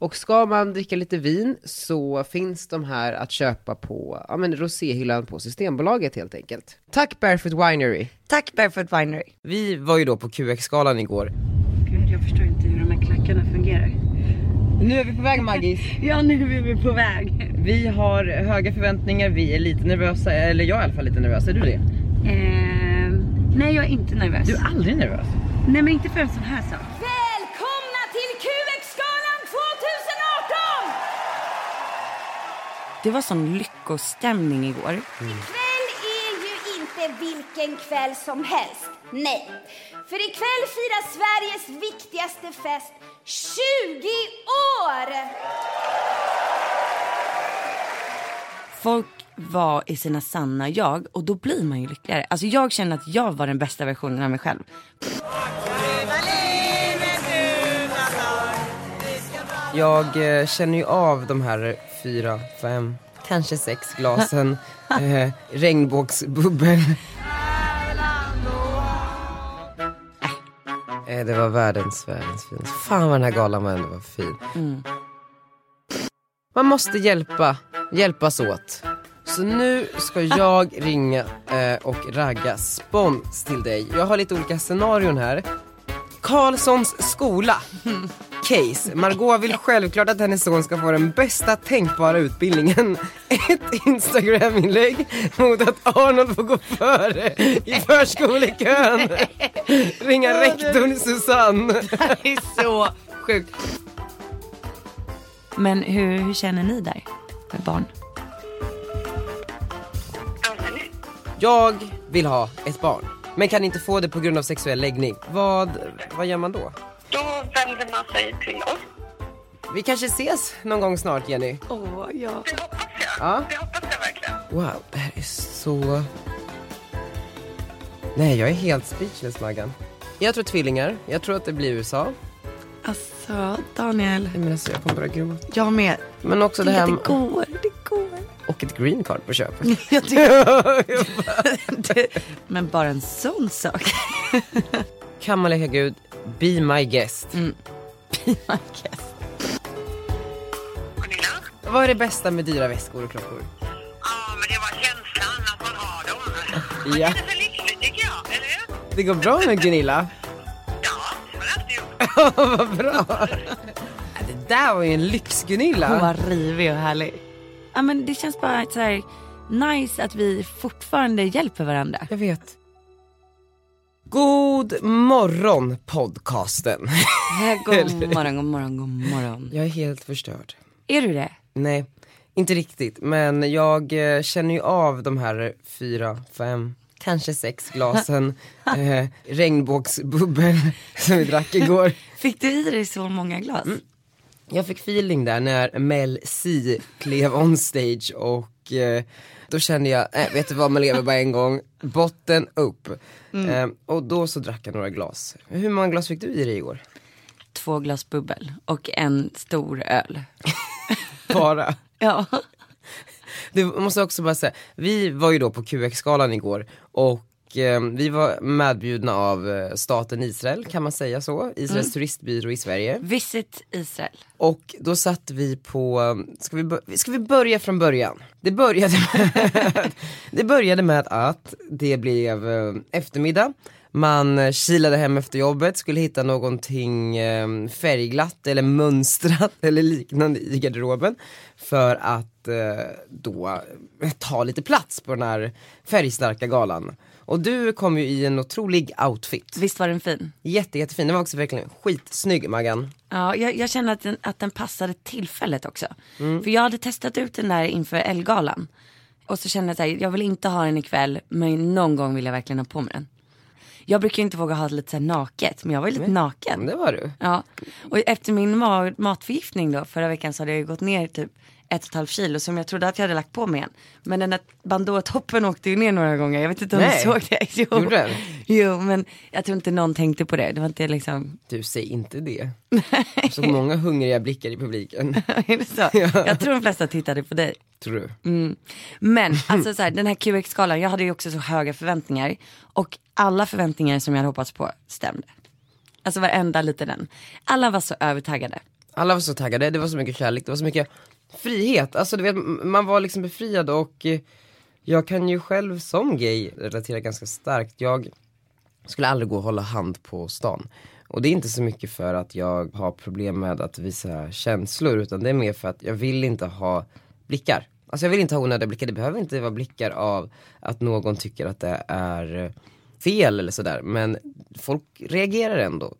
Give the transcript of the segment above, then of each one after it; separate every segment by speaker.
Speaker 1: Och ska man dricka lite vin så finns de här att köpa på ja, men roséhyllan på Systembolaget helt enkelt. Tack Barefoot Winery!
Speaker 2: Tack Barefoot Winery.
Speaker 1: Vi var ju då på QX-galan igår.
Speaker 3: Gud, jag förstår inte hur de här klackarna fungerar.
Speaker 1: Nu är vi på väg Maggis.
Speaker 3: Ja, nu är vi på väg.
Speaker 1: Vi har höga förväntningar, vi är lite nervösa, eller jag är i alla fall lite nervös. Är du det?
Speaker 3: Eh, nej, jag är inte nervös.
Speaker 1: Du är aldrig nervös.
Speaker 3: Nej, men inte för en sån här sak.
Speaker 4: Välkomna till QX-galan 2018!
Speaker 2: Det var sån lyckostämning igår.
Speaker 4: Ikväll är ju inte vilken kväll som helst. Nej, för ikväll firar Sveriges viktigaste fest 20 år!
Speaker 2: Folk var i sina sanna jag och då blir man ju lyckligare. Alltså jag känner att jag var den bästa versionen av mig själv.
Speaker 1: Jag eh, känner ju av de här fyra, fem, kanske sex glasen eh, regnbågsbubbel. Eh, det var världens, världens fin. Fan vad den här galan var ändå var fin. Man måste hjälpa, hjälpas åt. Så nu ska jag ringa eh, och ragga spons till dig. Jag har lite olika scenarion här. Karlssons skola. Case. Margot vill självklart att hennes son ska få den bästa tänkbara utbildningen. Ett Instagram-inlägg mot att Arnold får gå före i förskolekön. Ringa rektorn Susanne.
Speaker 2: Det är så sjukt. Men hur, hur känner ni där med barn?
Speaker 1: Jag vill ha ett barn. Men kan inte få det på grund av sexuell läggning. Vad, vad gör man då?
Speaker 5: Då vänder man sig till oss.
Speaker 1: Vi kanske ses någon gång snart Jenny.
Speaker 5: Det hoppas jag.
Speaker 1: Ja.
Speaker 5: Det hoppas jag verkligen.
Speaker 1: Wow, det här är så... Nej, jag är helt speechless Maggan. Jag tror tvillingar, jag tror att det blir USA.
Speaker 2: Alltså Daniel,
Speaker 1: Nej, Men alltså, jag kommer bara gråta.
Speaker 2: jag med.
Speaker 1: Men också det här med...
Speaker 2: går, det går.
Speaker 1: Och ett green card på köpet.
Speaker 2: Jag tycker... det... Men bara en sån sak.
Speaker 1: kan man leka gud, be my guest.
Speaker 5: Gunilla?
Speaker 1: Vad är det bästa med dyra väskor och klockor?
Speaker 5: Ja, men det var känslan att man har dem. Man
Speaker 1: Ja.
Speaker 5: känner sig lycklig tycker jag, eller hur?
Speaker 1: Det går bra med Gunilla.
Speaker 5: Ja, det har jag alltid gjort.
Speaker 1: Vad bra. Ja, Det där var ju en
Speaker 2: Hon
Speaker 1: lyx-Gunilla.
Speaker 2: var rivig och härlig. Ja, men det känns bara så här, nice att vi fortfarande hjälper varandra.
Speaker 1: Jag vet. God morgon podcasten.
Speaker 2: God morgon, god morgon, god morgon.
Speaker 1: Jag är helt förstörd.
Speaker 2: Är du det?
Speaker 1: Nej, inte riktigt. Men jag eh, känner ju av de här fyra, fem, kanske sex glasen eh, regnbågsbubbel som vi drack igår.
Speaker 2: Fick du i dig så många glas?
Speaker 1: Jag fick feeling där när Mel C klev on stage och eh, då kände jag, äh, vet du vad man lever bara en gång, botten upp. Eh, och då så drack jag några glas. Hur många glas fick du i dig igår?
Speaker 2: Två glas bubbel och en stor öl.
Speaker 1: Bara.
Speaker 2: Ja.
Speaker 1: Det måste jag också bara säga, vi var ju då på QX-galan igår och eh, vi var medbjudna av eh, staten Israel, kan man säga så? Israels turistbyrå i Sverige.
Speaker 2: Visit Israel.
Speaker 1: Och då satt vi på, eh, ska vi, bör- ska vi börja från början? Det började med, det började med att det blev eh, eftermiddag. Man eh, kilade hem efter jobbet, skulle hitta någonting eh, färgglatt eller mönstrat eller liknande i garderoben. För att eh, då eh, ta lite plats på den här färgstarka galan. Och du kom ju i en otrolig outfit.
Speaker 2: Visst var den fin?
Speaker 1: Jätte, jättefin, den var också verkligen skitsnygg Maggan.
Speaker 2: Ja, jag, jag känner att den, att den passade tillfället också. För jag hade testat ut den där inför Elgalan. Och så kände jag att jag vill inte ha den ikväll, men någon gång vill jag verkligen ha på mig den. Jag brukar ju inte våga ha det lite så här naket, men jag var ju lite naken.
Speaker 1: Det var du.
Speaker 2: Ja, och efter min ma- matförgiftning då förra veckan så hade jag ju gått ner typ ett och ett halvt kilo som jag trodde att jag hade lagt på mig igen. Men den där bandåtoppen åkte ju ner några gånger, jag vet inte om
Speaker 1: Nej.
Speaker 2: du såg det. Jo.
Speaker 1: Gjorde den?
Speaker 2: jo, men jag tror inte någon tänkte på det. Det var inte liksom,
Speaker 1: Du, säg inte det. Jag såg många hungriga blickar i publiken.
Speaker 2: är det så? Jag tror de flesta tittade på dig.
Speaker 1: Tror du?
Speaker 2: Men alltså så här, den här QX-skalan, jag hade ju också så höga förväntningar. Och alla förväntningar som jag hade hoppats på stämde. Alltså varenda liten. Alla var så övertaggade.
Speaker 1: Alla var så taggade, det var så mycket kärlek, det var så mycket frihet. Alltså du vet, m- man var liksom befriad och eh, jag kan ju själv som gay relatera ganska starkt. Jag skulle aldrig gå och hålla hand på stan. Och det är inte så mycket för att jag har problem med att visa känslor utan det är mer för att jag vill inte ha blickar. Alltså jag vill inte ha onödiga blickar, det behöver inte vara blickar av att någon tycker att det är eh, fel eller sådär. Men folk reagerar ändå.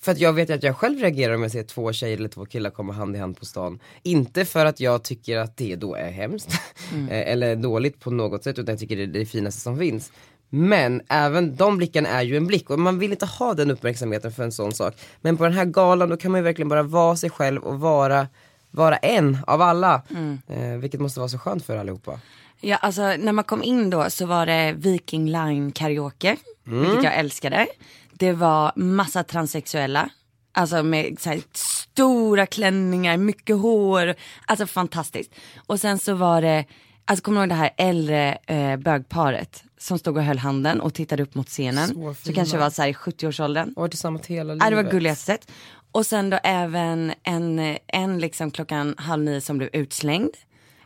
Speaker 1: För att jag vet ju att jag själv reagerar om jag ser två tjejer eller två killar komma hand i hand på stan. Inte för att jag tycker att det då är hemskt
Speaker 2: Mm.
Speaker 1: eh, eller dåligt på något sätt utan jag tycker det är det finaste som finns. Men även de blickarna är ju en blick och man vill inte ha den uppmärksamheten för en sån sak. Men på den här galan då kan man ju verkligen bara vara sig själv och vara, vara en av alla.
Speaker 2: Mm.
Speaker 1: Eh, vilket måste vara så skönt för allihopa.
Speaker 2: Ja, alltså när man kom in då så var det Viking Line karaoke,
Speaker 1: Mm.
Speaker 2: vilket jag älskade. Det var massa transsexuella, alltså med så här, stora klänningar, mycket hår, alltså fantastiskt. Och sen så var det, alltså kommer du ihåg det här äldre eh, bögparet som stod och höll handen och tittade upp mot scenen.
Speaker 1: Så
Speaker 2: Så
Speaker 1: fina.
Speaker 2: kanske var så här i 70-årsåldern.
Speaker 1: Och varit tillsammans hela livet.
Speaker 2: Ja, det var gulligaste sätt. Och sen då även en, en liksom klockan halv nio som blev utslängd.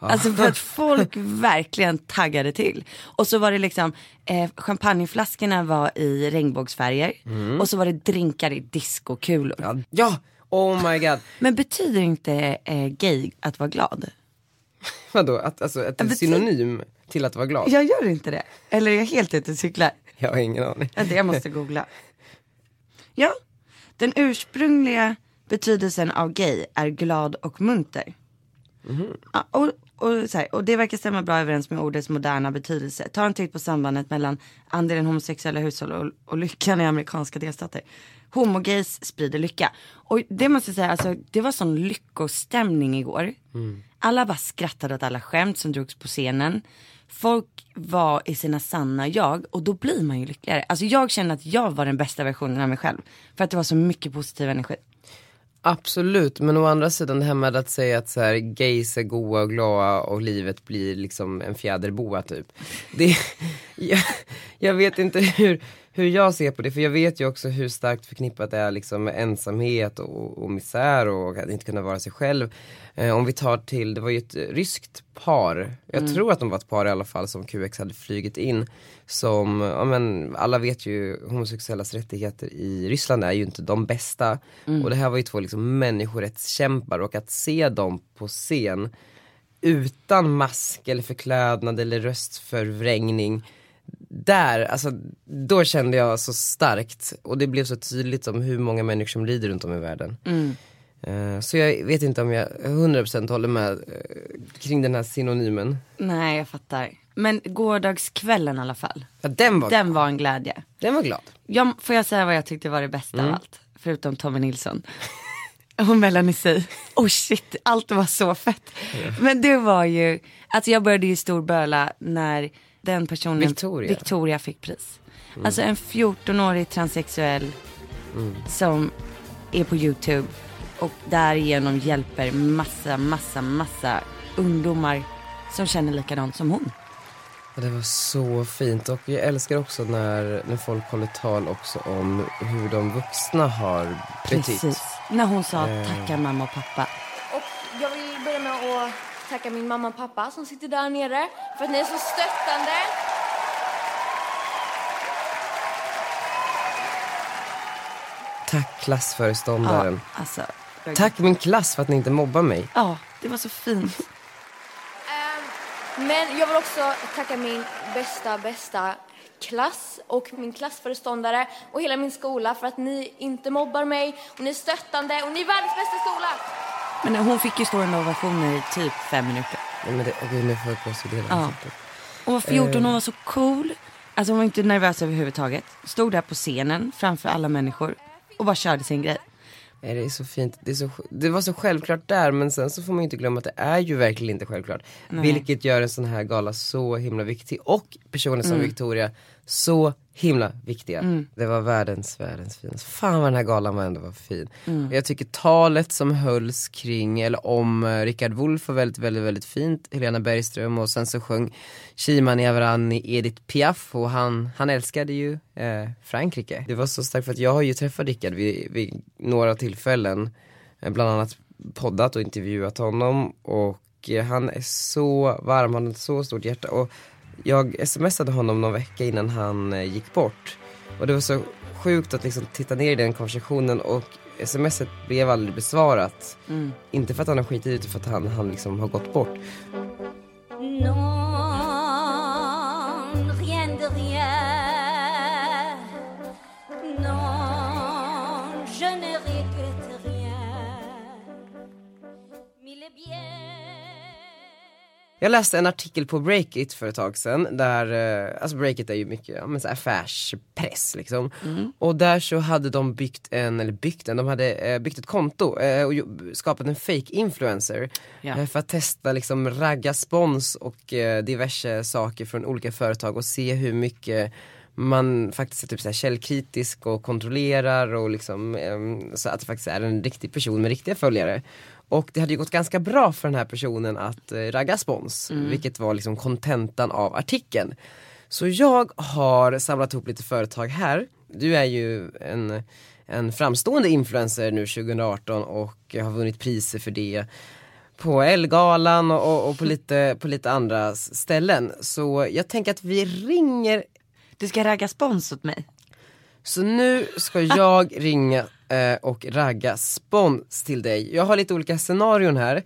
Speaker 2: Alltså för att folk verkligen taggade till. Och så var det liksom, eh, champagneflaskorna var i regnbågsfärger. Och så var det drinkar i discokulor.
Speaker 1: Ja, ja! Oh my god.
Speaker 2: Men betyder inte eh, gay att vara glad?
Speaker 1: Vadå, att, alltså, att det är
Speaker 2: Men-
Speaker 1: synonym till att vara glad?
Speaker 2: Jag gör inte det. Eller är jag helt ute och cyklar?
Speaker 1: Jag har ingen aning.
Speaker 2: Vänta, jag måste googla. Ja, den ursprungliga betydelsen av gay är glad och munter. Ja, och, och, så här, och det verkar stämma bra överens med ordets moderna betydelse. Ta en titt på sambandet mellan andelen homosexuella hushåll och, och lyckan i amerikanska delstater. Homogays sprider lycka. Och det måste jag säga, alltså, det var sån lyckostämning igår. Alla bara skrattade åt alla skämt som drogs på scenen. Folk var i sina sanna jag och då blir man ju lyckligare. Alltså jag känner att jag var den bästa versionen av mig själv. För att det var så mycket positiv energi.
Speaker 1: Absolut, men å andra sidan det här med att säga att så här, gays är goa och glada och livet blir liksom en fjäderboa typ. Det, jag, jag vet inte hur, hur jag ser på det, för jag vet ju också hur starkt förknippat det är liksom med ensamhet och, och misär och att inte kunna vara sig själv. Eh, om vi tar till, det var ju ett ryskt par, jag tror att de var ett par i alla fall som QX hade flugit in. Som, ja men alla vet ju homosexuellas rättigheter i Ryssland är ju inte de bästa. Och det här var ju två liksom människorättskämpar och att se dem på scen utan mask eller förklädnad eller röstförvrängning. Där, alltså då kände jag så starkt och det blev så tydligt om hur många människor som lider runt om i världen. Eh, Så jag vet inte om jag 100% håller med eh, kring den här synonymen.
Speaker 2: Nej jag fattar. Men gårdagskvällen i alla fall.
Speaker 1: Ja, den, var, den.
Speaker 2: Den var en glädje.
Speaker 1: var glad.
Speaker 2: Jag, får jag säga vad jag tyckte var det bästa av allt? Förutom Tommy Nilsson. Och Melanie Sy. Oh shit, allt var så fett. Men det var ju, alltså jag började ju storböla när den personen,
Speaker 1: Victoria.
Speaker 2: Victoria fick pris. Alltså en 14-årig transsexuell som är på YouTube och därigenom hjälper massa, massa, massa ungdomar som känner likadant som hon.
Speaker 1: Ja, Det var så fint och jag älskar också när, när folk håller tal också om hur de vuxna har betytt.
Speaker 2: Precis. När hon sa tacka mamma och pappa.
Speaker 6: Och jag vill börja med att tacka min mamma och pappa som sitter där nere för att ni är så stöttande.
Speaker 1: Tack
Speaker 2: Ja,
Speaker 1: klassföreståndaren.
Speaker 2: alltså.
Speaker 1: Tack min klass för att ni inte mobbar mig.
Speaker 2: Ja, det var så fint.
Speaker 6: Ehm, Men jag vill också tacka min bästa, bästa klass och min klassföreståndare och hela min skola för att ni inte mobbar mig och ni är stöttande och ni är världens bästa skola.
Speaker 2: Men hon fick ju stående ovationer i typ fem minuter.
Speaker 1: Nej, men det, åh gud, nu får jag gåshud i hela
Speaker 2: Ja.
Speaker 1: ansiktet.
Speaker 2: Hon var 14 och var så cool. Alltså hon var inte nervös överhuvudtaget. Stod där på scenen framför alla människor och bara körde sin grej.
Speaker 1: Nej, det är så fint. Det, är så, det var så självklart där men sen så får man ju inte glömma att det är ju verkligen inte självklart. Vilket gör en sån här gala så himla viktig och personer som Victoria så himla viktiga. Det var världens, världens finaste. Fan vad den här galan var ändå var fin. Och jag tycker talet som hölls kring, eller om eh, Rickard Wolff var väldigt, väldigt, väldigt fint. Helena Bergström och sen så sjöng Shimani Avrani Edith Piaf och han, han älskade ju eh, Frankrike. Det var så starkt för att jag har ju träffat Rickard vid, vid några tillfällen. Eh, Bland annat poddat och intervjuat honom och eh, han är så varm, han har ett så stort hjärta. Och jag smsade honom någon vecka innan han eh, gick bort. Och det var så sjukt att liksom titta ner i den konversationen och smset blev aldrig besvarat. Inte för att han har skitit utan för att han, han liksom har gått bort.
Speaker 4: Non, rien de rien. Non, je ne regrette rien. Mille bien.
Speaker 1: Jag läste en artikel på Breakit för ett tag sedan där, eh, alltså Breakit är ju mycket ja, men så här affärspress liksom. Och där så hade de byggt en, eller byggt en, de hade eh, byggt ett konto eh, och jo- skapat en fake influencer.
Speaker 2: Ja.
Speaker 1: Eh, för att testa liksom ragga spons och eh, diverse saker från olika företag och se hur mycket man faktiskt är typ så här källkritisk och kontrollerar och liksom ehm, så att det faktiskt är en riktig person med riktiga följare. Och det hade ju gått ganska bra för den här personen att eh, ragga spons, vilket var liksom kontentan av artikeln. Så jag har samlat ihop lite företag här. Du är ju en, en framstående influencer nu 2018 och har vunnit priser för det på Elgalan och, och, och på, lite, på lite andra s- ställen. Så jag tänker att vi ringer,
Speaker 2: Du ska ragga spons åt mig.
Speaker 1: så nu ska jag ringa eh, och ragga spons till dig. Jag har lite olika scenarion här.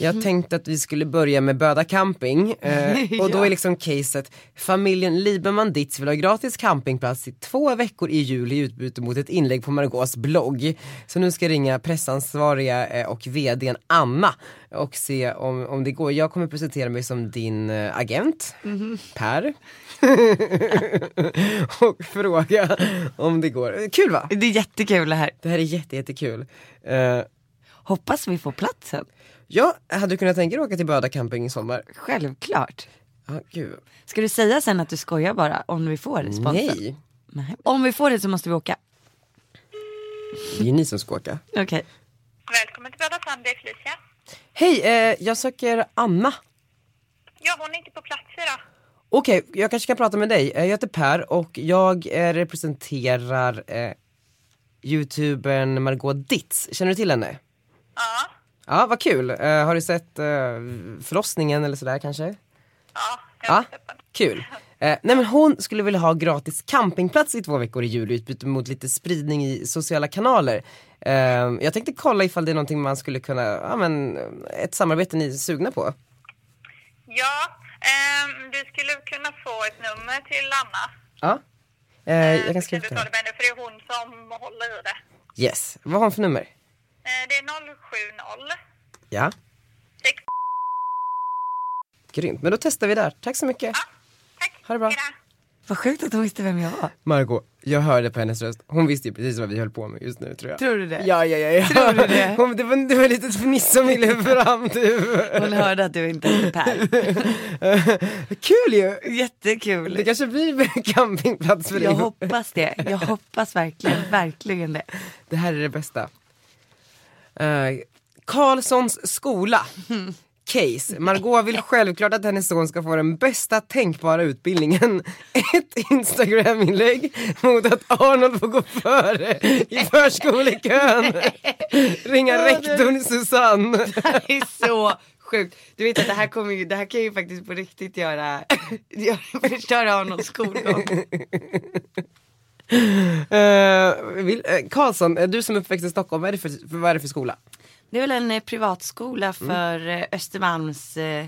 Speaker 1: Jag tänkte att vi skulle börja med Böda camping eh, och då är liksom caset familjen Liberman Ditz vill ha gratis campingplats i två veckor i juli i utbyte mot ett inlägg på Margaux blogg. Så nu ska jag ringa pressansvariga eh, och vdn Anna och se om, om det går. Jag kommer presentera mig som din eh, agent, Per. och fråga om det går. Kul va?
Speaker 2: Det är jättekul det här.
Speaker 1: Det här är jätte, jättekul. Eh,
Speaker 2: Hoppas vi får platsen.
Speaker 1: ja, hade du kunnat tänka dig att åka till Böda camping i sommar?
Speaker 2: Självklart.
Speaker 1: Ja, gud.
Speaker 2: Ska du säga sen att du skojar bara om vi får responsen?
Speaker 1: Nej,
Speaker 2: Nej. Om vi får det så måste vi åka.
Speaker 1: det är ju ni som ska åka.
Speaker 2: Okej.
Speaker 7: Välkommen till Böda Sand, det är Felicia.
Speaker 1: Hej, eh, jag söker Anna.
Speaker 7: Ja, hon är inte på plats idag.
Speaker 1: Okej, jag kanske kan prata med dig. Eh, Jag heter Per och jag eh, representerar eh, youtubern Margot Ditz. Känner du till henne?
Speaker 7: Ja,
Speaker 1: Ja, vad kul. Eh, har du sett eh, förlossningen eller sådär kanske?
Speaker 7: ja, jag
Speaker 1: Ja,
Speaker 7: har sett på den.
Speaker 1: kul. Eh, nej men hon skulle vilja ha gratis campingplats i två veckor i juli i utbyte mot lite spridning i sociala kanaler. Eh, jag tänkte kolla ifall det är någonting man skulle kunna, ja men eh, ett samarbete ni är sugna på.
Speaker 7: Ja, ehm, du skulle kunna få ett nummer till Anna.
Speaker 1: Ja. Eh, jag kan
Speaker 7: Ehm,
Speaker 1: skriva
Speaker 7: du
Speaker 1: upp det
Speaker 7: tar
Speaker 1: här.
Speaker 7: det med henne, för det är hon som håller i det.
Speaker 1: Yes, vad har hon för nummer?
Speaker 7: Ehm, det är 070
Speaker 1: Ja,
Speaker 7: 6...
Speaker 1: grymt. Men då testar vi där. Tack så mycket.
Speaker 7: Tack,
Speaker 1: Ha det bra.
Speaker 7: hejdå.
Speaker 2: Vad sjukt att hon visste vem jag var.
Speaker 1: Margot, jag hörde på hennes röst. Hon visste ju precis vad vi höll på med just nu tror jag.
Speaker 2: Tror du det?
Speaker 1: Ja, ja, ja. ja.
Speaker 2: Tror du det?
Speaker 1: Hon, det, var, det var lite fniss som ville fram du.
Speaker 2: Hon hörde att du inte är Per.
Speaker 1: Kul ju! Det
Speaker 2: Jättekul.
Speaker 1: kanske blir campingplats för dig.
Speaker 2: Jag hoppas det. Jag hoppas verkligen, verkligen det.
Speaker 1: Det här är det bästa. Eh, Karlssons skola. Case. Margot vill självklart att hennes son ska få den bästa tänkbara utbildningen. Ett Instagram-inlägg mot att Arnold får gå före i förskolekön. Ringa rektorn Susanne.
Speaker 2: Det är så sjukt. Du vet att det här, kommer ju, det här kan ju faktiskt på riktigt göra, göra förstöra Arnolds skolgång.
Speaker 1: Eh, vill, eh, Karlsson, eh, du som är uppväxt i Stockholm, vad är det för, för, vad är det för skola?
Speaker 2: Det är väl en eh, privatskola för eh, Östermalms eh,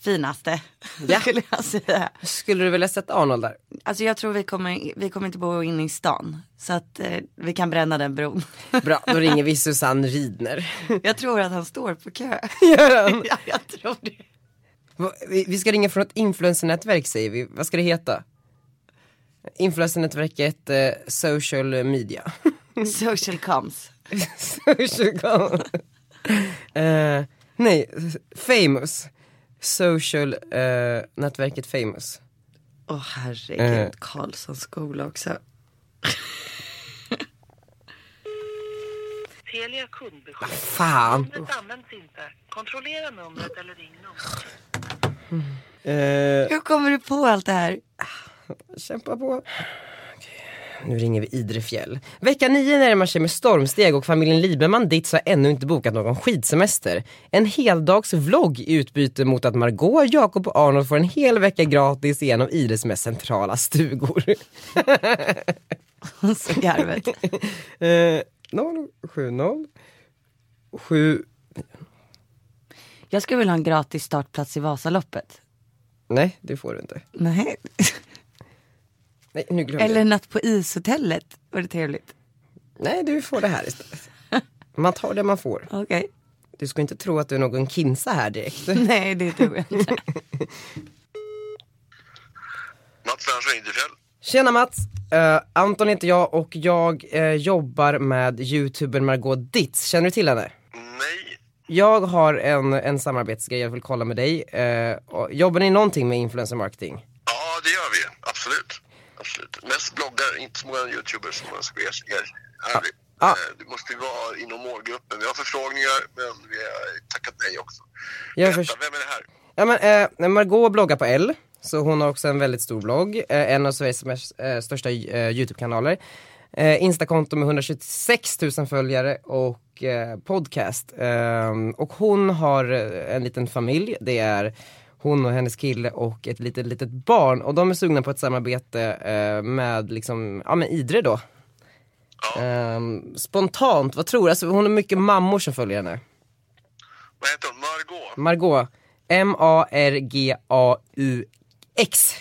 Speaker 2: finaste.
Speaker 1: Ja.
Speaker 2: Skulle jag säga.
Speaker 1: Skulle du vilja sätta Arnold där?
Speaker 2: Alltså jag tror vi kommer, vi kommer inte bo inne i stan. Så att eh, vi kan bränna den bron.
Speaker 1: Bra, då ringer vi Susanne Ridner.
Speaker 2: Jag tror att han står på kö.
Speaker 1: Gör han?
Speaker 2: Ja, jag tror det.
Speaker 1: Va- Vi vi ska ringa från ett influencernätverk säger vi. Vad ska det heta? Influencernätverket eh, social media.
Speaker 2: Social comms.
Speaker 1: social com. eh, nej, famous. Social eh, nätverket famous.
Speaker 2: Åh
Speaker 1: Eh.
Speaker 2: herregud, Karlssons skola också.
Speaker 5: Telia kundbesked.
Speaker 1: Fan.
Speaker 5: Numret används inte. Kontrollera numret eller ring numret.
Speaker 1: Eh,
Speaker 2: Hur kommer du på allt det här?
Speaker 1: kämpa på. Okej, Nu ringer vi Idrefjäll. Vecka 9 närmar sig med stormsteg och familjen Liberman Ditz har ännu inte bokat någon skidsemester. En heldags vlogg i utbyte mot att Margot, Jakob och Arnold får en hel vecka gratis i en av Idres mest centrala stugor.
Speaker 2: Skarvet.
Speaker 1: Eh, 070 7
Speaker 2: Jag skulle vilja ha en gratis startplats i Vasaloppet.
Speaker 1: Nej, det får du inte.
Speaker 2: Nej.
Speaker 1: Nej, nu glömde
Speaker 2: Eller
Speaker 1: jag.
Speaker 2: en natt på ishotellet. Var det trevligt?
Speaker 1: Nej, du får det här istället. Man tar det man får.
Speaker 2: Okej.
Speaker 1: Du ska inte tro att du är någon Kinsa här direkt.
Speaker 2: Nej, det tror jag inte.
Speaker 8: Mats Svensson, Idefjäll.
Speaker 1: Tjena Mats! Eh, Anton heter jag och jag eh, jobbar med youtubern Margot Ditz. Känner du till henne?
Speaker 8: Nej,
Speaker 1: Jag har en, en samarbetsgrej jag vill kolla med dig. Eh, och jobbar ni någonting med influencer marketing?
Speaker 8: ja det gör vi. Absolut. Absolut. Mest bloggar, inte så många youtubers som man ska er- är vi.
Speaker 1: Ah.
Speaker 8: Eh, Det måste ju vara inom målgruppen. Vi har förfrågningar, men vi har tackat nej också.
Speaker 1: Jag
Speaker 8: Vänta,
Speaker 1: förs-
Speaker 8: vem är det här?
Speaker 1: Ja, men, eh, Margot bloggar på L, så hon har också en väldigt stor blogg. Eh, en av Sveriges mest, eh, största eh, YouTube-kanaler. Eh, Instakonto med 126 000 följare och eh, podcast. Ehm, och hon har eh, en liten familj. Det är hon och hennes kille och ett litet, litet barn. Och de är sugna på ett samarbete eh, med liksom, ja men Idre då. Ehm, spontant, vad tror du? Alltså, hon har mycket mammor som följer henne.
Speaker 8: Vad heter hon? Margot?
Speaker 1: Margot. M-A-R-G-A-U-X.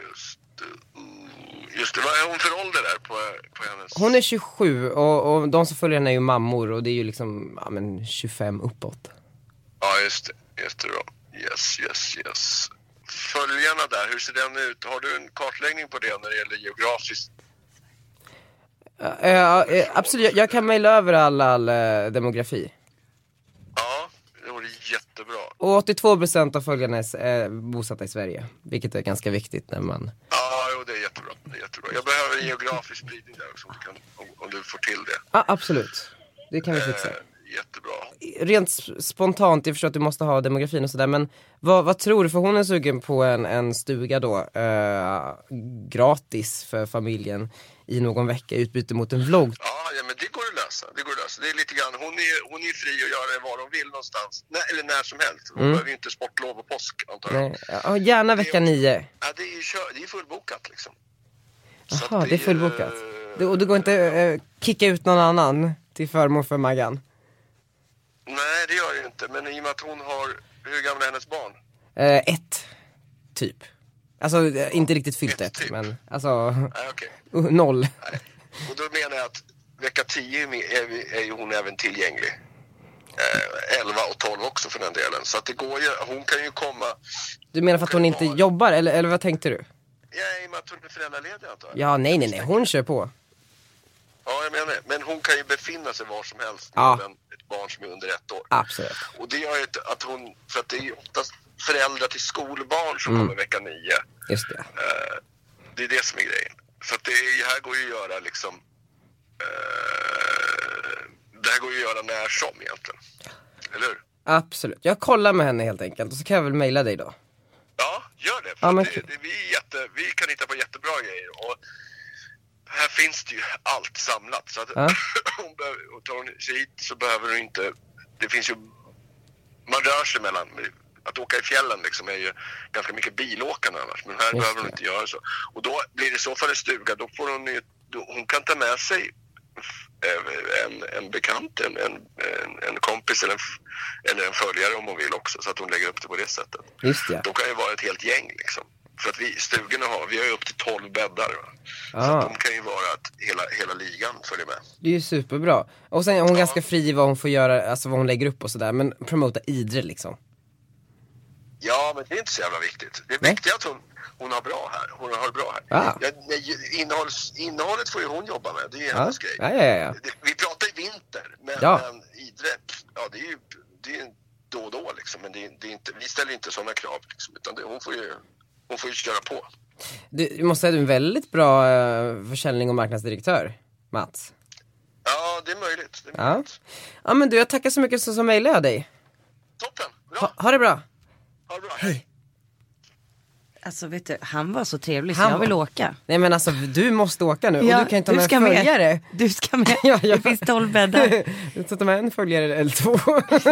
Speaker 8: Just, det. Mm, just det. Vad är hon för ålder där på, på hennes...
Speaker 1: Hon är 27 och, och de som följer henne är ju mammor och det är ju liksom ja, men 25 uppåt.
Speaker 8: Ja, just det. Just det då. Yes, yes, yes. Följarna där, hur ser den ut? Har du en kartläggning på det när det gäller geografiskt?
Speaker 1: Eh, eh, absolut, jag, jag kan mejla över all, all eh, demografi.
Speaker 8: Ja, det vore jättebra.
Speaker 1: Och 82% av följarna är eh, bosatta i Sverige, vilket är ganska viktigt när man...
Speaker 8: Ja, jo, det är jättebra. Det är jättebra. Jag behöver en geografisk spridning där också om du, kan, om, om du får till det.
Speaker 1: Ja, absolut. Det kan vi fixa.
Speaker 8: Eh, jättebra.
Speaker 1: Rent sp- spontant, jag förstår att du måste ha demografin och sådär, men vad, vad tror du? För hon är sugen på en, en stuga då, eh, gratis för familjen i någon vecka i utbyte mot en vlogg.
Speaker 8: Ja, ja, men det går att lösa. Det går att lösa. Det är lite grann, hon är, hon är fri att göra vad hon vill någonstans. Nä, eller när som helst. Hon behöver ju inte sportlov och påsk antar jag.
Speaker 1: Nej, ja, gärna vecka nio.
Speaker 8: Ja, det är ju kö- det är fullbokat liksom. Så
Speaker 1: Jaha,
Speaker 8: att
Speaker 1: det är fullbokat.
Speaker 8: eh,
Speaker 1: Det, och det går inte eh, kicka ut någon annan till förmån för Maggan?
Speaker 8: Nej, det gör det ju inte. Men i och med att hon har, hur gamla är hennes barn?
Speaker 1: Eh, ett, typ. Alltså eh, inte riktigt fyllt
Speaker 8: Ett
Speaker 1: ett,
Speaker 8: typ.
Speaker 1: men alltså
Speaker 8: Nej, okej.
Speaker 1: uh, noll.
Speaker 8: Nej. Och då menar jag att vecka 10 är, vi- är, vi- är ju hon även tillgänglig. Eh, 11 och 12 också för den delen. Så att det går ju, hon kan ju komma,
Speaker 1: Du menar för att hon inte jobbar, eller, eller vad tänkte du?
Speaker 8: ja, i och med att hon är föräldraledig antar jag.
Speaker 1: Ja, nej, nej, nej, hon kör på.
Speaker 8: Ja, jag menar det. Men hon kan ju befinna sig var som helst
Speaker 1: Ja.
Speaker 8: med en- ett barn som är under ett år.
Speaker 1: Absolut.
Speaker 8: Och det gör ju att- att hon, för att det är ju oftast föräldrar till skolbarn som
Speaker 1: Mm.
Speaker 8: kommer vecka 9.
Speaker 1: Just det.
Speaker 8: Det är det som är grejen. Så att det är, här går ju att göra liksom... Eh, det här går ju att göra när som egentligen. Eller hur?
Speaker 1: Absolut. Jag kollar med henne helt enkelt och så kan jag väl mejla dig då.
Speaker 8: Ja, gör det. För
Speaker 1: Ja, men
Speaker 8: att det,
Speaker 1: kul.
Speaker 8: det, vi, är jätte, vi kan hitta på jättebra grejer. Och här finns det ju allt samlat. Så att
Speaker 1: Ja.
Speaker 8: hon behöver, och tar hon sig hit så behöver hon inte... Det finns ju... Man rör sig mellan... Att åka i fjällen liksom är ju ganska mycket bilåkande annars. Men här behöver hon
Speaker 1: det.
Speaker 8: inte göra så. Och då blir det i så fall en stuga. Då får hon ju... Då, hon kan ta med sig eh, en, en bekant, en, en, en- en kompis eller en, f- eller en följare om hon vill också. Så att hon lägger upp det på det sättet.
Speaker 1: Just det.
Speaker 8: De kan ju vara ett helt gäng liksom. För att vi, stugorna har, vi har ju upp till 12 bäddar. Va? Så
Speaker 1: Ah.
Speaker 8: att de kan ju vara att hela, hela ligan följer med.
Speaker 1: Det är ju superbra. Och sen är hon ganska fri i vad hon får göra, alltså vad hon lägger upp och sådär, men promota Idre liksom.
Speaker 8: Ja, men det är inte så jävla viktigt. Det
Speaker 1: Nej.
Speaker 8: viktiga är att hon, hon har bra här. Hon har det bra här.
Speaker 1: Ah.
Speaker 8: Ja, nej, ju- innehålls, innehållet får ju hon jobba med. Det är ju
Speaker 1: Ja,
Speaker 8: hennes grej.
Speaker 1: ja, ja, ja.
Speaker 8: Det- Vi pratar i vinter, men,
Speaker 1: Ja.
Speaker 8: men Idre, ja det är ju det är ju då och då liksom. Men det är, det är inte, vi ställer inte sådana krav liksom, utan det, hon, får ju, hon får ju köra på.
Speaker 1: Du, du måste säga att du är en väldigt bra eh, försäljning och marknadsdirektör, Mats.
Speaker 8: Ja, det är möjligt. Det är
Speaker 1: Ja.
Speaker 8: möjligt.
Speaker 1: Ja men du, jag tackar så mycket så, så mejlar jag dig.
Speaker 8: Toppen, bra.
Speaker 1: Ha, ha det bra.
Speaker 8: Ha det bra, hej.
Speaker 2: Alltså vet du, han var så trevlig
Speaker 1: Han
Speaker 2: så jag vill
Speaker 1: var-
Speaker 2: åka.
Speaker 1: Nej men alltså du måste åka nu och du kan ju ta med en följare.
Speaker 2: Du ska med.
Speaker 1: Ja, ja.
Speaker 2: Det finns tolv bäddar.
Speaker 1: Du kan ta med en följare eller två.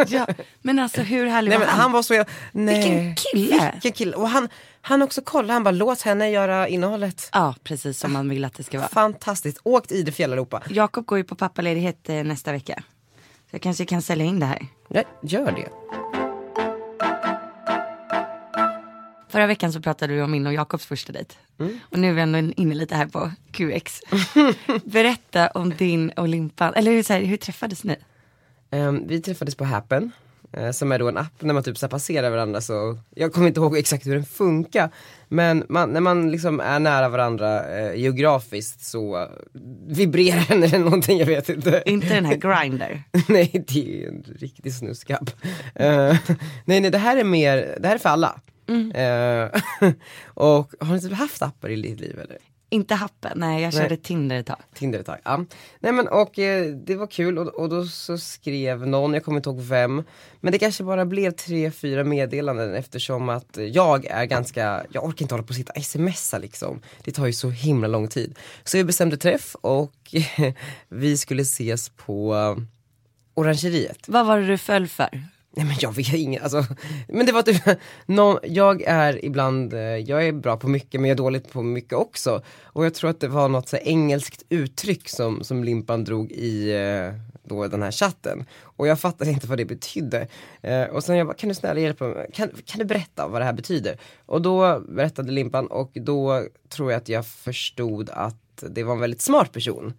Speaker 2: ja. Men alltså hur härlig
Speaker 1: Nej
Speaker 2: var
Speaker 1: men han var så... Nej.
Speaker 2: Vilken kille.
Speaker 1: Vilken kille. Och han, han också kollade, han bara låt henne göra innehållet.
Speaker 2: Ja, precis som man vill att det ska vara.
Speaker 1: Fantastiskt. Åk till Idre Fjälleuropa.
Speaker 2: Jakob går ju på pappaledighet eh, nästa vecka. Så jag kanske kan sälja in det här.
Speaker 1: Ja, gör det.
Speaker 2: Förra veckan så pratade du om min och Jakobs första dejt.
Speaker 1: Mm.
Speaker 2: Och nu är vi ändå inne lite här på QX. Berätta om din och Limpan, eller hur, så här, hur träffades ni?
Speaker 1: Ehm, vi träffades på Happen, eh, som är då en app när man typ så här passerar varandra så, jag kommer inte ihåg exakt hur den funkar. Men man, när man liksom är nära varandra eh, geografiskt så vibrerar den eller någonting, jag vet inte.
Speaker 2: Inte den här grinder.
Speaker 1: nej det är ju en riktig snuskapp. Eh, nej nej det här är mer, det här är för alla. Eh, och har ni typ haft appar i ditt liv eller?
Speaker 2: Inte happen, nej jag körde
Speaker 1: Nej.
Speaker 2: Tinder ett tag.
Speaker 1: Tinder ett tag. Ja. Nej men och eh, det var kul och, och då så skrev någon, jag kommer inte ihåg vem, men det kanske bara blev tre, fyra meddelanden eftersom att eh, jag är ganska, jag orkar inte hålla på och sitta och smsa liksom. Det tar ju så himla lång tid. Så vi bestämde träff och vi skulle ses på eh, Orangeriet.
Speaker 2: Vad var det du föll för?
Speaker 1: Nej men jag vet inget, alltså, men det var typ, någon, jag är ibland, eh, jag är bra på mycket men jag är dålig på mycket också. Och jag tror att det var något så här engelskt uttryck som, som Limpan drog i eh, då den här chatten. Och jag fattade inte vad det betydde. Eh, och sen jag bara, kan du snälla hjälpa mig, kan, kan du berätta vad det här betyder? Och då berättade Limpan och då tror jag att jag förstod att det var en väldigt smart person.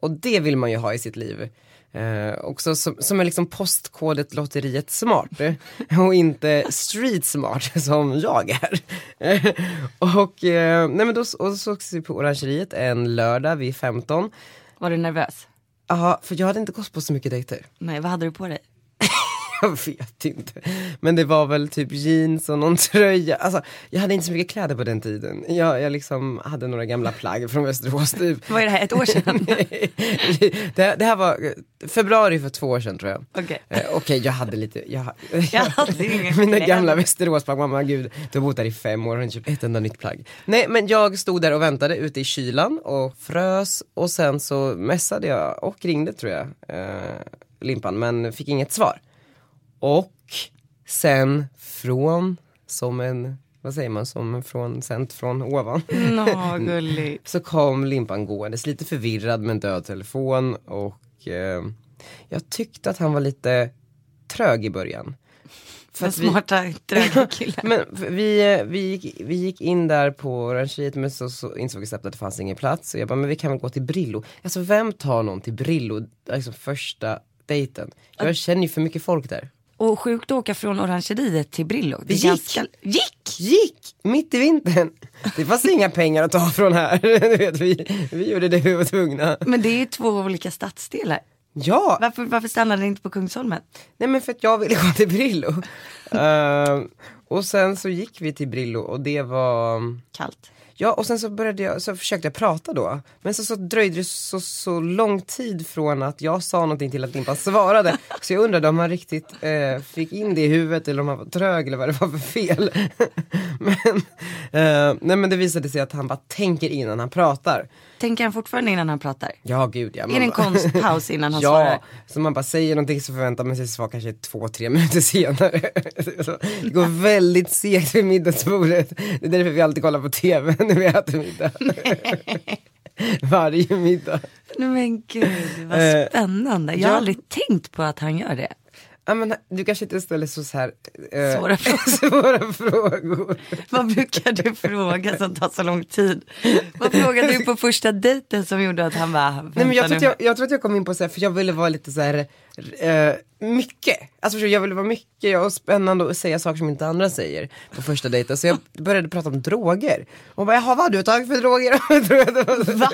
Speaker 1: Och det vill man ju ha i sitt liv. Eh, också som, som är liksom postkodet lotteriet smart eh, och inte street smart som jag är. Eh, och, eh, nej men då, s- och så sågs vi på Orangeriet en lördag vid 15.
Speaker 2: Var du nervös?
Speaker 1: Ja, för jag hade inte gått på så mycket dejter.
Speaker 2: Nej, vad hade du på dig?
Speaker 1: Jag vet inte. Men det var väl typ jeans och någon tröja. Alltså, jag hade inte så mycket kläder på den tiden. Jag, jag liksom hade några gamla plagg från Västerås typ.
Speaker 2: Vad är det här, ett år sedan?
Speaker 1: Nej. det, här- det här var eh, februari för två år sedan tror jag.
Speaker 2: Okej.
Speaker 1: Eh, Okej, jag hade lite, jag,
Speaker 2: Jag hade inget
Speaker 1: mina
Speaker 2: kläder.
Speaker 1: gamla Västeråsplagg, mamma gud, du har bott där i fem år och inte köpt ett enda nytt plagg. Nej men jag stod där och väntade ute i kylan och frös och sen så messade jag och ringde tror jag, eh, Limpan, men fick inget svar. Och sen från, som en, vad säger man, som en från, sänt från ovan
Speaker 2: Nå, gullig.
Speaker 1: så kom Limpan gåendes, lite förvirrad med en död telefon och eh, jag tyckte att han var lite trög i början. För
Speaker 2: Den
Speaker 1: att vi-
Speaker 2: smarta, tröga killen.
Speaker 1: Men för vi, eh, vi, gick, vi gick in där på Orangeriet men så, så insåg vi snabbt att det fanns ingen plats. Så jag bara, men vi kan väl gå till Brillo. Alltså vem tar någon till Brillo, alltså första dejten? Jag känner ju för mycket folk där.
Speaker 2: Och sjukt att åka från Orangeriet till Brillo.
Speaker 1: Vi
Speaker 2: Det är
Speaker 1: gick.
Speaker 2: ganska- Gick!
Speaker 1: Gick mitt i vintern. Det fanns inga pengar att ta från här. Du vet, vi, vi gjorde det vi var tvungna.
Speaker 2: Men det är ju två olika stadsdelar.
Speaker 1: Ja,
Speaker 2: Varför, varför stannade ni inte på Kungsholmen?
Speaker 1: Nej men för att jag ville gå till Brillo. Ehm, och sen så gick vi till Brillo och det var
Speaker 2: Kallt.
Speaker 1: Ja och sen så började jag, så försökte jag prata då. Men så, så dröjde det så, så lång tid från att jag sa någonting till att Limpan svarade. Så jag undrade om han riktigt eh, fick in det i huvudet eller om han var trög eller vad det var för fel. men, eh, nej men det visade sig att han bara tänker innan han pratar.
Speaker 2: Tänker han fortfarande innan han pratar?
Speaker 1: Ja gud ja. man
Speaker 2: Är det en
Speaker 1: bara-
Speaker 2: konstpaus innan han
Speaker 1: ja,
Speaker 2: svarar?
Speaker 1: så man bara säger någonting så förväntar man sig svar kanske två, tre minuter senare. Så det går väldigt segt vid middagsbordet. Det är därför vi alltid kollar på TV när vi äter middag. Varje middag.
Speaker 2: Nej men gud, vad
Speaker 1: Eh,
Speaker 2: spännande. Jag har
Speaker 1: ja.
Speaker 2: aldrig tänkt på att han gör det.
Speaker 1: Ja, men, du kanske inte ställer så, så här, eh,
Speaker 2: Svåra frågor.
Speaker 1: svåra frågor.
Speaker 2: Vad brukar du fråga som tar så lång tid? Vad frågade du på första dejten som gjorde att han bara,
Speaker 1: Nej, men jag,
Speaker 2: "Vänta
Speaker 1: tror att
Speaker 2: nu."
Speaker 1: jag, jag tror att jag kom in på så här, för jag ville vara lite så här eh, mycket. Alltså förstår du, jag ville vara mycket och spännande och säga saker som inte andra säger på första dejten. Så jag började prata om droger. Hon bara, jaha vad har du tagit för droger? Va?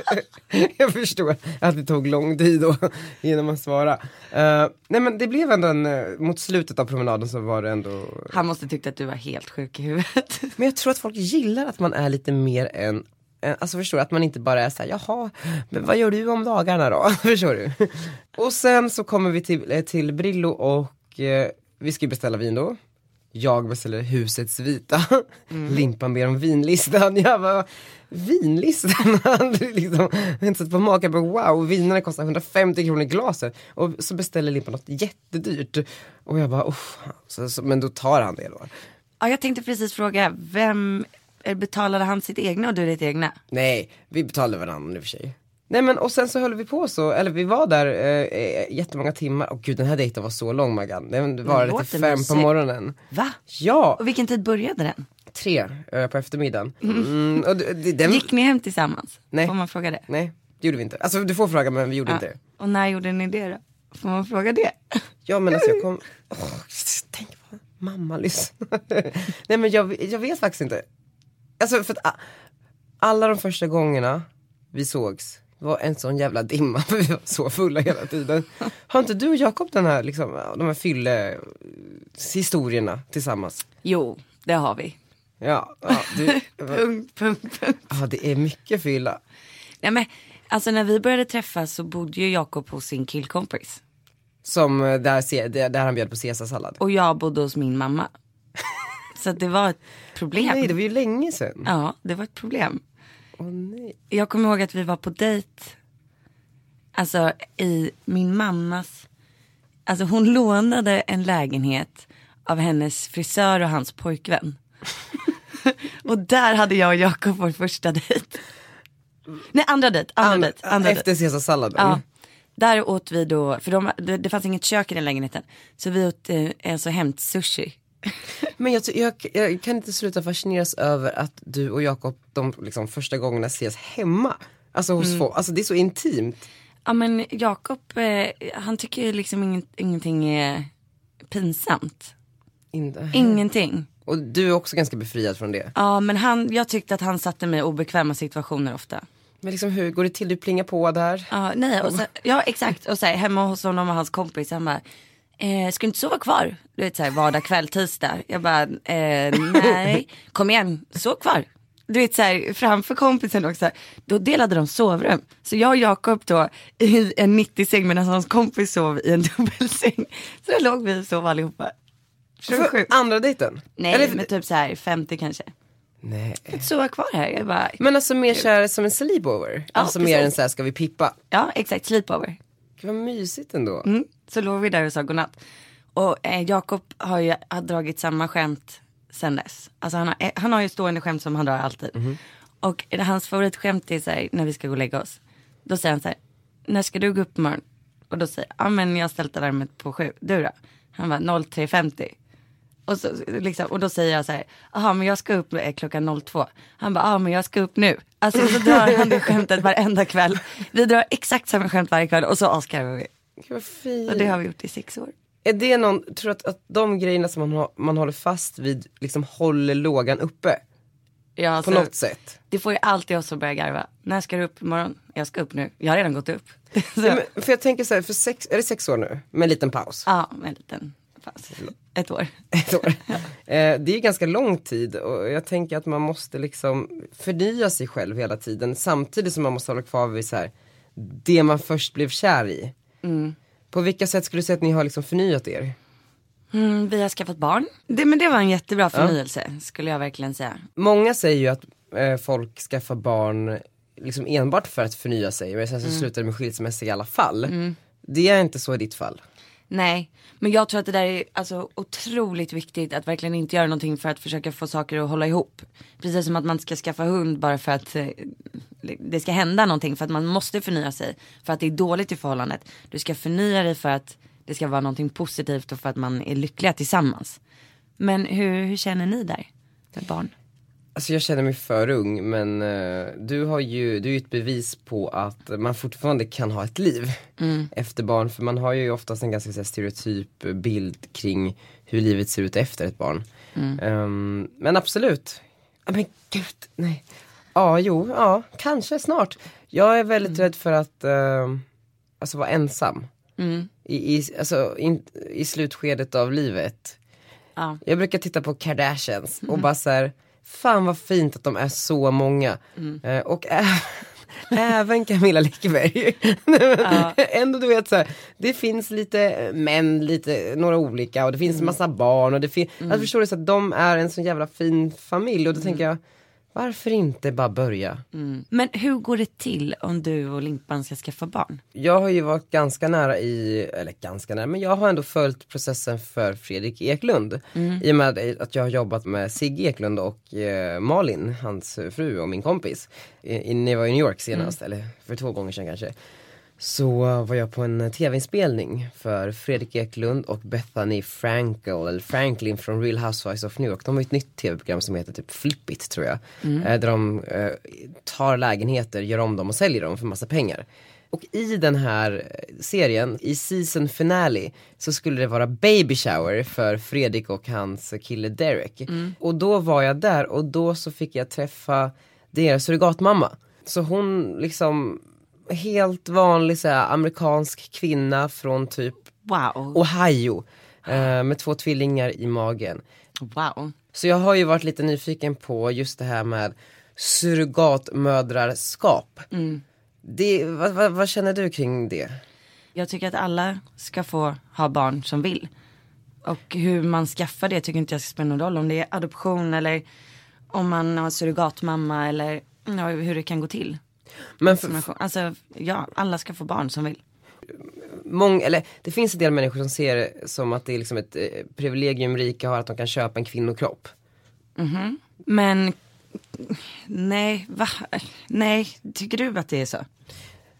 Speaker 1: jag förstår att det tog lång tid då genom att svara. Eh, nej men det blev ändå en, eh, mot slutet av promenaden så var det ändå
Speaker 2: Han måste tyckt att du var helt sjuk i huvudet.
Speaker 1: men jag tror att folk gillar att man är lite mer än än- Alltså förstår du, att man inte bara är såhär, jaha, men vad gör du om dagarna då? förstår du? Och sen så kommer vi till, eh, till Brillo och eh, vi ska ju beställa vin då. Jag beställer husets vita. Limpan ber om vinlistan. Jag bara, vinlistan? Jag hade liksom, jag har inte sett på maken, men wow, vinerna kostar 150 kronor glaset. Och så beställer Limpan något jättedyrt. Och jag bara, oh, så, så, men då tar han det då.
Speaker 2: Ja, jag tänkte precis fråga, vem eh, betalade han sitt egna och du ditt egna?
Speaker 1: Nej, vi betalade varandra i och för sig. Nej men och sen så höll vi på så, eller vi var där eh, eh, jättemånga timmar. Och gud den här dejten var så lång Maggan. Den varade
Speaker 2: låter
Speaker 1: till fem
Speaker 2: mysigt.
Speaker 1: på morgonen.
Speaker 2: Va?
Speaker 1: Ja,
Speaker 2: Och vilken tid började den?
Speaker 1: tre eh, på eftermiddagen. Mm, och d- d- den,
Speaker 2: Gick ni hem tillsammans?
Speaker 1: Nej.
Speaker 2: Får man fråga det?
Speaker 1: Nej, det gjorde vi inte. Alltså du får fråga men vi gjorde inte det.
Speaker 2: Och när gjorde ni det då? Får man fråga det?
Speaker 1: Ja men alltså jag
Speaker 2: Mm.
Speaker 1: kom, Åh, tänk vad mamma lyssnar. Nej men jag, jag vet faktiskt inte. Alltså för att a- alla de första gångerna vi sågs var en sån jävla dimma för vi var så fulla hela tiden. Har inte du och Jakob den här, liksom, de här fyllehistorierna tillsammans?
Speaker 2: Jo, det har vi.
Speaker 1: Ja, ja, du,
Speaker 2: Punkt, punkt, punkt.
Speaker 1: ja, det är mycket fylla.
Speaker 2: Nej men, alltså när vi började träffas så bodde ju Jakob hos sin killkompis.
Speaker 1: Som eh, där, se- där där han bjöd på caesarsallad.
Speaker 2: Och jag bodde hos min mamma. Så att det var ett problem.
Speaker 1: Nej, det var ju länge sedan.
Speaker 2: Ja, det var ett problem.
Speaker 1: Åh nej.
Speaker 2: Jag kommer ihåg att vi var på dejt. Alltså i min mammas. Alltså hon lånade en lägenhet av hennes frisör och hans pojkvän. och där hade jag och Jakob vår första dejt. Nej andra dejt, andra dejt. Andra dejt.
Speaker 1: Efter caesarsalladen.
Speaker 2: Ja. Där åt vi då, för de, det, det fanns inget kök i den lägenheten. Så vi åt eh, alltså hämtsushi.
Speaker 1: Men jag, ty- jag, jag kan inte sluta fascineras över att du och Jakob de liksom första gångerna ses hemma. Alltså hos
Speaker 2: Mm.
Speaker 1: få, alltså det är så intimt.
Speaker 2: Ja men Jakob, eh, han tycker ju liksom ingen, ingenting är pinsamt.
Speaker 1: In-
Speaker 2: Ingenting.
Speaker 1: och du är också ganska befriad från det.
Speaker 2: Mm. Ja men han, jag tyckte att han satte mig i obekväma situationer ofta.
Speaker 1: Men liksom hur går det till? Du plingar på där.
Speaker 2: Ja, nej, och sen, ja exakt. Och så här, hemma hos honom och hans kompis, han bara, eh, ska du inte sova kvar? Du vet såhär vardag, kväll, tisdag. Jag bara, eh, nej, kom igen, sov kvar. Du vet såhär framför kompisen också, då delade de sovrum. Så jag och Jakob då i en 90-säng medan hans kompis sov i en dubbelsäng. Så där låg vi och sov allihopa. Så
Speaker 1: För
Speaker 2: sjukt.
Speaker 1: andra dejten?
Speaker 2: Nej,
Speaker 1: Eller-
Speaker 2: men typ såhär 50 kanske.
Speaker 1: Nej.
Speaker 2: Sova kvar här, jag bara,
Speaker 1: Men alltså mer kär som en sleepover?
Speaker 2: Ja,
Speaker 1: alltså mer
Speaker 2: precis.
Speaker 1: än så här ska vi pippa?
Speaker 2: ja exakt, sleepover.
Speaker 1: Gud, vad mysigt ändå.
Speaker 2: Mm. Så låg vi där och sa godnatt. Och eh, Jakob har ju har dragit samma skämt sen dess. Alltså han har, eh, han har ju stående skämt som han drar alltid. Och eh, hans favoritskämt är så här, när vi ska gå och lägga oss. Då säger han så här, när ska du gå upp imorgon? Och då säger jag, ja men jag har ställt alarmet på sju. Du då? Han var 03.50. Och, så, liksom, och då säger jag så här, jaha men jag ska upp eh, klockan 02. Han bara, ja men jag ska upp nu. Alltså så drar han det skämtet varenda kväll. Vi drar exakt samma skämt varje kväll och så avskarvar vi.
Speaker 1: Gud vad fint.
Speaker 2: Och det har vi gjort i sex år.
Speaker 1: Är det någon, tror du att, att de grejerna som man, har, man håller fast vid liksom håller lågan uppe? På
Speaker 2: Ja, alltså,
Speaker 1: något sätt?
Speaker 2: Det får ju alltid oss att börja garva. När ska du upp imorgon? Jag ska upp nu. Jag har redan gått upp. Så,
Speaker 1: Ja, men, för jag tänker så här, för sex, är det sex år nu? Med en liten paus?
Speaker 2: Ja, med en liten paus. Ett år.
Speaker 1: ett år. Eh, Det är ju ganska lång tid och jag tänker att man måste liksom förnya sig själv hela tiden samtidigt som man måste hålla kvar vid så här, det man först blev kär i. På vilka sätt skulle du säga att ni har liksom förnyat er?
Speaker 2: Mm, vi har skaffat barn. Det, men det var en jättebra förnyelse skulle jag verkligen säga.
Speaker 1: Många säger ju att eh, folk skaffar barn liksom enbart för att förnya sig men sen så slutar det med skilsmässa i alla fall. Det är inte så i ditt fall.
Speaker 2: Nej, men jag tror att det där är alltså, otroligt viktigt att verkligen inte göra någonting för att försöka få saker att hålla ihop. Precis som att man inte ska skaffa hund bara för att eh, det ska hända någonting för att man måste förnya sig. För att det är dåligt i förhållandet. Du ska förnya dig för att det ska vara någonting positivt och för att man är lyckliga tillsammans. Men hur, hur känner ni där med barn?
Speaker 1: Alltså jag känner mig för ung men eh, du har ju, du är ju ett bevis på att man fortfarande kan ha ett liv efter barn. För man har ju oftast en ganska så här, stereotyp bild kring hur livet ser ut efter ett barn. Ehm, men absolut. Ja, Men gud, nej. Ja, jo, ja, kanske snart. Jag är väldigt rädd för att eh, alltså, vara ensam. I, i, alltså, in, I slutskedet av livet.
Speaker 2: Ja.
Speaker 1: Jag brukar titta på Kardashians och bara så här, fan vad fint att de är så många. Eh, och ä- även Camilla Läckberg. Nej, men Ändå du vet så här, det finns lite män, lite, några olika och det finns massa barn. Och det fin- alltså, förstår du, så att de är en så jävla fin familj och då tänker jag, varför inte bara börja?
Speaker 2: Men hur går det till om du och Limpan ska skaffa barn?
Speaker 1: Jag har ju varit ganska nära i, eller ganska nära, men jag har ändå följt processen för Fredrik Eklund. I och med att jag har jobbat med Sigge Eklund och eh, Malin, hans fru och min kompis. I, i, ni var i New York senast, eller för två gånger sedan kanske. Så eh, var jag på en eh, tv-inspelning för Fredrik Eklund och Bethany Frankel, eller Franklin från Real Housewives of New York. De har ju ett nytt tv-program som heter typ Flip It tror jag. Eh, Där de eh, tar lägenheter, gör om dem och säljer dem för massa pengar. Och i den här eh, serien, i season finale, så skulle det vara baby shower för Fredrik och hans kille Derek. Och då var jag där och då så fick jag träffa deras surrogatmamma. Så hon liksom, helt vanlig så här, amerikansk kvinna från typ
Speaker 2: Wow.
Speaker 1: Ohio. Eh, med två tvillingar i magen.
Speaker 2: Wow.
Speaker 1: Så jag har ju varit lite nyfiken på just det här med surrogatmödrarskap. Det, vad, vad, vad känner du kring det?
Speaker 2: Jag tycker att alla ska få ha barn som vill. Och hur man skaffar det tycker inte jag ska spela någon roll. Om det är adoption eller om man har surrogatmamma eller ja, hur det kan gå till.
Speaker 1: Men för,
Speaker 2: Insemination. Alltså ja, alla ska få barn som vill.
Speaker 1: många, eller, det finns en del människor som ser det som att det är liksom ett eh, privilegium rika har att de kan köpa en kvinnokropp.
Speaker 2: Men nej, va? Nej, tycker du att det är så?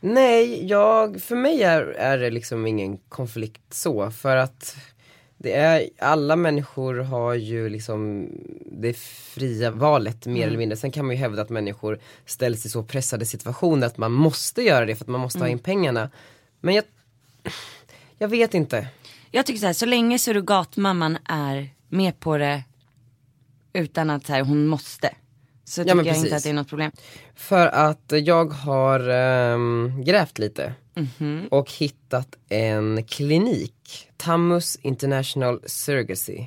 Speaker 1: Nej, jag, för mig är, är det liksom ingen konflikt så för att det är, alla människor har ju liksom det fria valet mer eller mindre. Sen kan man ju hävda att människor ställs i så pressade situationer att man måste göra det för att man måste ha in pengarna. Men jag, jag vet inte.
Speaker 2: Jag tycker så här, så länge surrogatmamman är med på det utan att så här, hon måste. Så tycker
Speaker 1: men
Speaker 2: jag
Speaker 1: precis.
Speaker 2: inte att det är något problem.
Speaker 1: För att jag har ehm, grävt lite och hittat en klinik, Tamus International Surrogacy.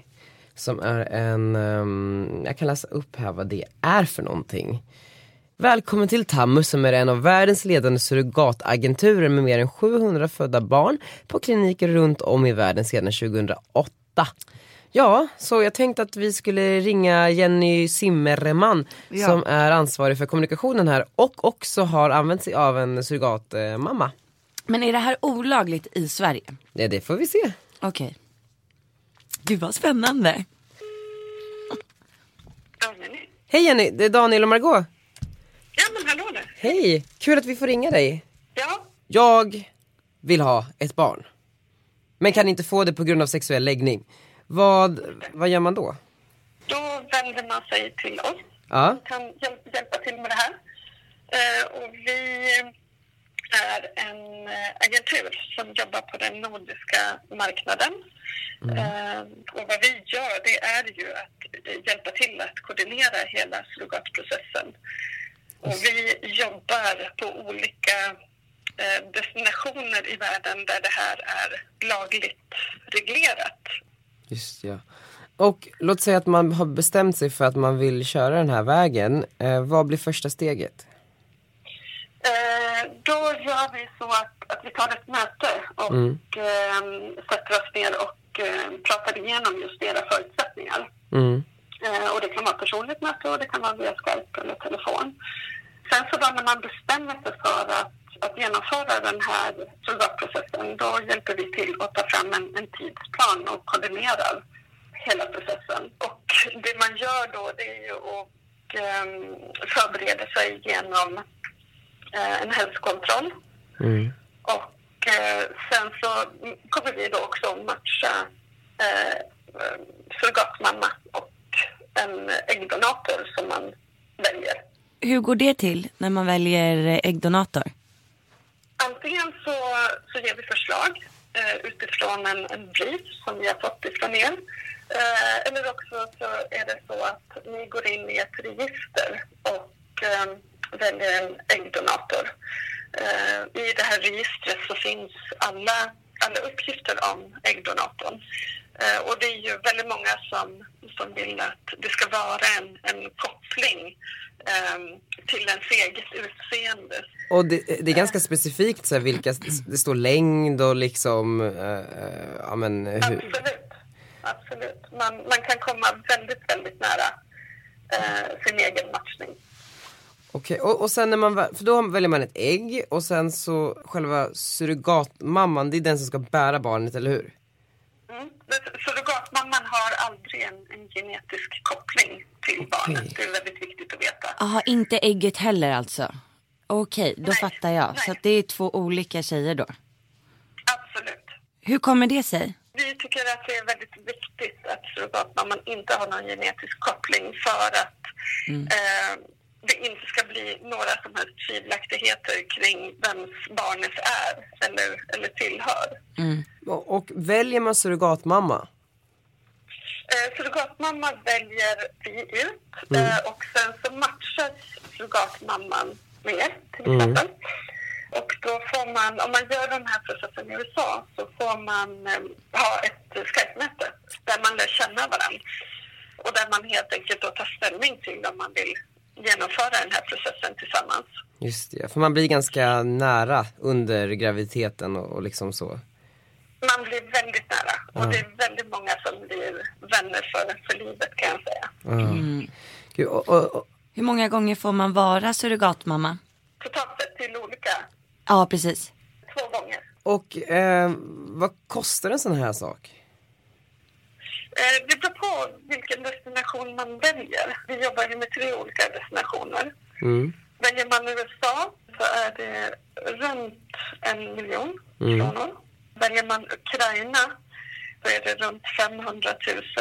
Speaker 1: Som är en, ehm, jag kan läsa upp här vad det är för någonting. Välkommen till Tamus som är en av världens ledande surrogatagenturer med mer än 700 födda barn på kliniker runt om i världen sedan 2008. Ja, så jag tänkte att vi skulle ringa Jenny Zimmerman som är ansvarig för kommunikationen här och också har använt sig av en surrogatmamma.
Speaker 2: Men är det här olagligt i Sverige?
Speaker 1: Det, det får vi se.
Speaker 2: Okej. Gud vad spännande.
Speaker 1: Hej Jenny, det är Daniel och Margot.
Speaker 7: Ja, men hallå där.
Speaker 1: Hej, kul att vi får ringa dig.
Speaker 7: Ja,
Speaker 1: Jag vill ha ett barn. Men kan inte få det på grund av sexuell läggning. Vad, vad gör man då?
Speaker 7: då vänder man sig till oss.
Speaker 1: Ja.
Speaker 7: Vi kan hjäl- hjälpa till med det här. Eh, och vi är en eh, agentur som jobbar på den nordiska marknaden. Eh, och vad vi gör det är ju att eh, hjälpa till att koordinera hela surrogatprocessen. Och vi jobbar på olika eh, destinationer i världen där det här är lagligt reglerat.
Speaker 1: Just ja. Och låt säga att man har bestämt sig för att man vill köra den här vägen. Eh, vad blir första steget?
Speaker 7: Eh, då gör vi så att, att vi tar ett möte och
Speaker 1: Mm.
Speaker 7: ehm, sätter oss ner och eh, pratar igenom just era förutsättningar.
Speaker 1: Mm.
Speaker 7: Eh, och det kan vara ett personligt möte och det kan vara via Skype eller telefon. Sen så då när man bestämmer sig för att, att genomföra den här surrogatprocessen då hjälper vi till att ta fram en, en tidsplan och koordinerar hela processen. Och det man gör då det är ju att ehm, förbereda sig genom eh, en hälsokontroll.
Speaker 1: Mm.
Speaker 7: Och eh, sen så kommer vi då också att matcha eh, eh, surrogatmamma och en äggdonator som man
Speaker 2: hur går det till när man väljer eh, äggdonator?
Speaker 7: Antingen så, så ger vi förslag eh, utifrån en, en brief som vi har fått ifrån er. Eh, eller också så är det så att ni går in i ett register och eh, väljer en äggdonator. Eh, I det här registret så finns alla, alla uppgifter om äggdonatorn. Eh, och det är ju väldigt många som, som vill att det ska vara en, en koppling eh, till ens eget utseende.
Speaker 1: Och det, det är ganska specifikt så här, vilka, det står längd och liksom, eh, eh, ja men hur,
Speaker 7: Absolut. Absolut. Man, man kan komma väldigt, väldigt nära eh, sin egen matchning.
Speaker 1: Okej, och, och sen när man, vä- för då väljer man ett ägg och sen så själva surrogatmamman, det är den som ska bära barnet, eller hur?
Speaker 7: Mm. Det- Surrogatmamman har aldrig en, en genetisk koppling till barnet. Det är väldigt viktigt att veta.
Speaker 2: Jaha, inte ägget heller alltså? Okej, då
Speaker 7: Nej,
Speaker 2: fattar jag.
Speaker 7: nej.
Speaker 2: Så att det är två olika tjejer då.
Speaker 7: Absolut.
Speaker 2: Hur kommer det sig?
Speaker 7: Vi tycker att det är väldigt viktigt att surrogatmamman inte har någon genetisk koppling för att eh, det inte ska bli några som helst tvivelaktigheter kring vems barnet är eller, eller tillhör.
Speaker 1: Och, och väljer man surrogatmamma?
Speaker 7: Eh, surrogatmamma väljer vi ut eh, och sen så matchas surrogatmamman med er, till exempel. Och då får man, om man gör den här processen i USA så får man eh, ha ett eh, Skype-möte där man lär känna varandra och där man helt enkelt då tar ställning till om man vill genomföra den här processen tillsammans.
Speaker 1: Just det, för man blir ganska nära under graviditeten och, och liksom så.
Speaker 7: Man blir väldigt nära och det är väldigt många som blir vänner för, för livet kan jag säga.
Speaker 1: Ja. Gud, och, och, och,
Speaker 2: Hur många gånger får man vara surrogatmamma?
Speaker 7: Totalt sett till olika,
Speaker 2: Ja, precis.
Speaker 7: två gånger.
Speaker 1: och eh, vad kostar en sån här sak?
Speaker 7: Eh, Det beror på vilken destination man väljer. Vi jobbar ju med tre olika destinationer.
Speaker 1: Mm.
Speaker 7: Väljer man USA så är det runt en miljon kronor. Väljer man Ukraina så är det runt 500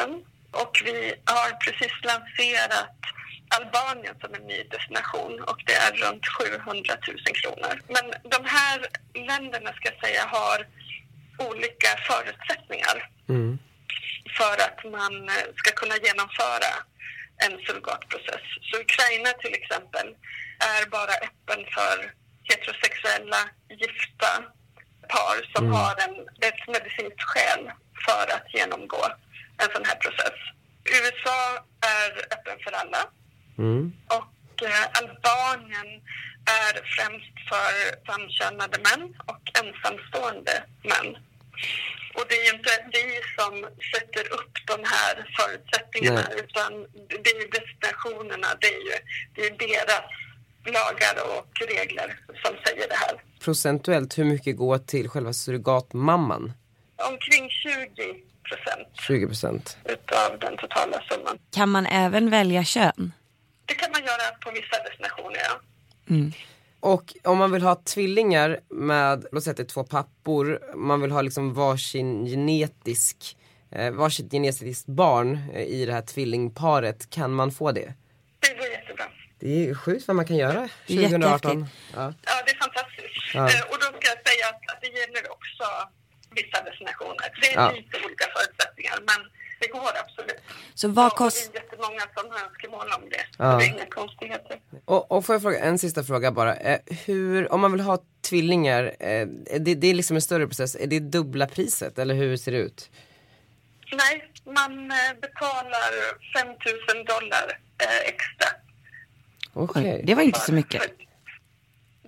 Speaker 7: 000. Och vi har precis lanserat Albanien som en ny destination och det är runt 700 000 kronor. Men de här länderna ska jag säga har olika förutsättningar
Speaker 1: Mm.
Speaker 7: för att man eh, ska kunna genomföra en surrogatprocess. Så Ukraina till exempel är bara öppen för heterosexuella gifta par som har en, ett medicinskt skäl för att genomgå en sån här process. USA är öppen för alla
Speaker 1: Mm.
Speaker 7: och eh, Albanien är främst för samkönade män och ensamstående män. Och det är ju inte vi som sätter upp de här förutsättningarna
Speaker 1: Nej.
Speaker 7: utan det är ju destinationerna, det är ju det är deras lagar och regler som säger det här.
Speaker 1: Procentuellt, hur mycket går till själva surrogatmamman?
Speaker 7: Omkring 20 procent
Speaker 1: 20%.
Speaker 7: utav den totala summan.
Speaker 2: Kan man även välja kön?
Speaker 7: Det kan man göra på vissa destinationer, ja.
Speaker 1: Och om man vill ha tvillingar med, låt säga att det är två pappor, man vill ha liksom varsin genetisk, eh, varsitt genetiskt barn eh, i det här tvillingparet, kan man få det?
Speaker 7: Det går jättebra.
Speaker 1: Det är sjukt vad man kan göra
Speaker 2: Det är jättehäftigt.
Speaker 1: 2018. Ja.
Speaker 7: Ja, det är fantastiskt.
Speaker 1: Ja.
Speaker 7: Eh, Och då ska jag säga att att det gäller också vissa destinationer. Det är
Speaker 1: Ja.
Speaker 7: lite olika förutsättningar, men det går absolut.
Speaker 2: Så
Speaker 7: Ja,
Speaker 2: vad
Speaker 7: och
Speaker 2: kostar...
Speaker 7: Det är jättemånga som har önskemål om det.
Speaker 1: Ja.
Speaker 7: Det är inga konstigheter.
Speaker 1: Och, och får jag fråga en sista fråga bara. Eh, hur, om man vill ha tvillingar, eh, det, det är liksom en större process, är det dubbla priset eller hur ser det ut?
Speaker 7: Nej, man eh, betalar 5 000 dollar eh, extra.
Speaker 1: Okej.
Speaker 2: Oj, det var inte så mycket.
Speaker 7: För-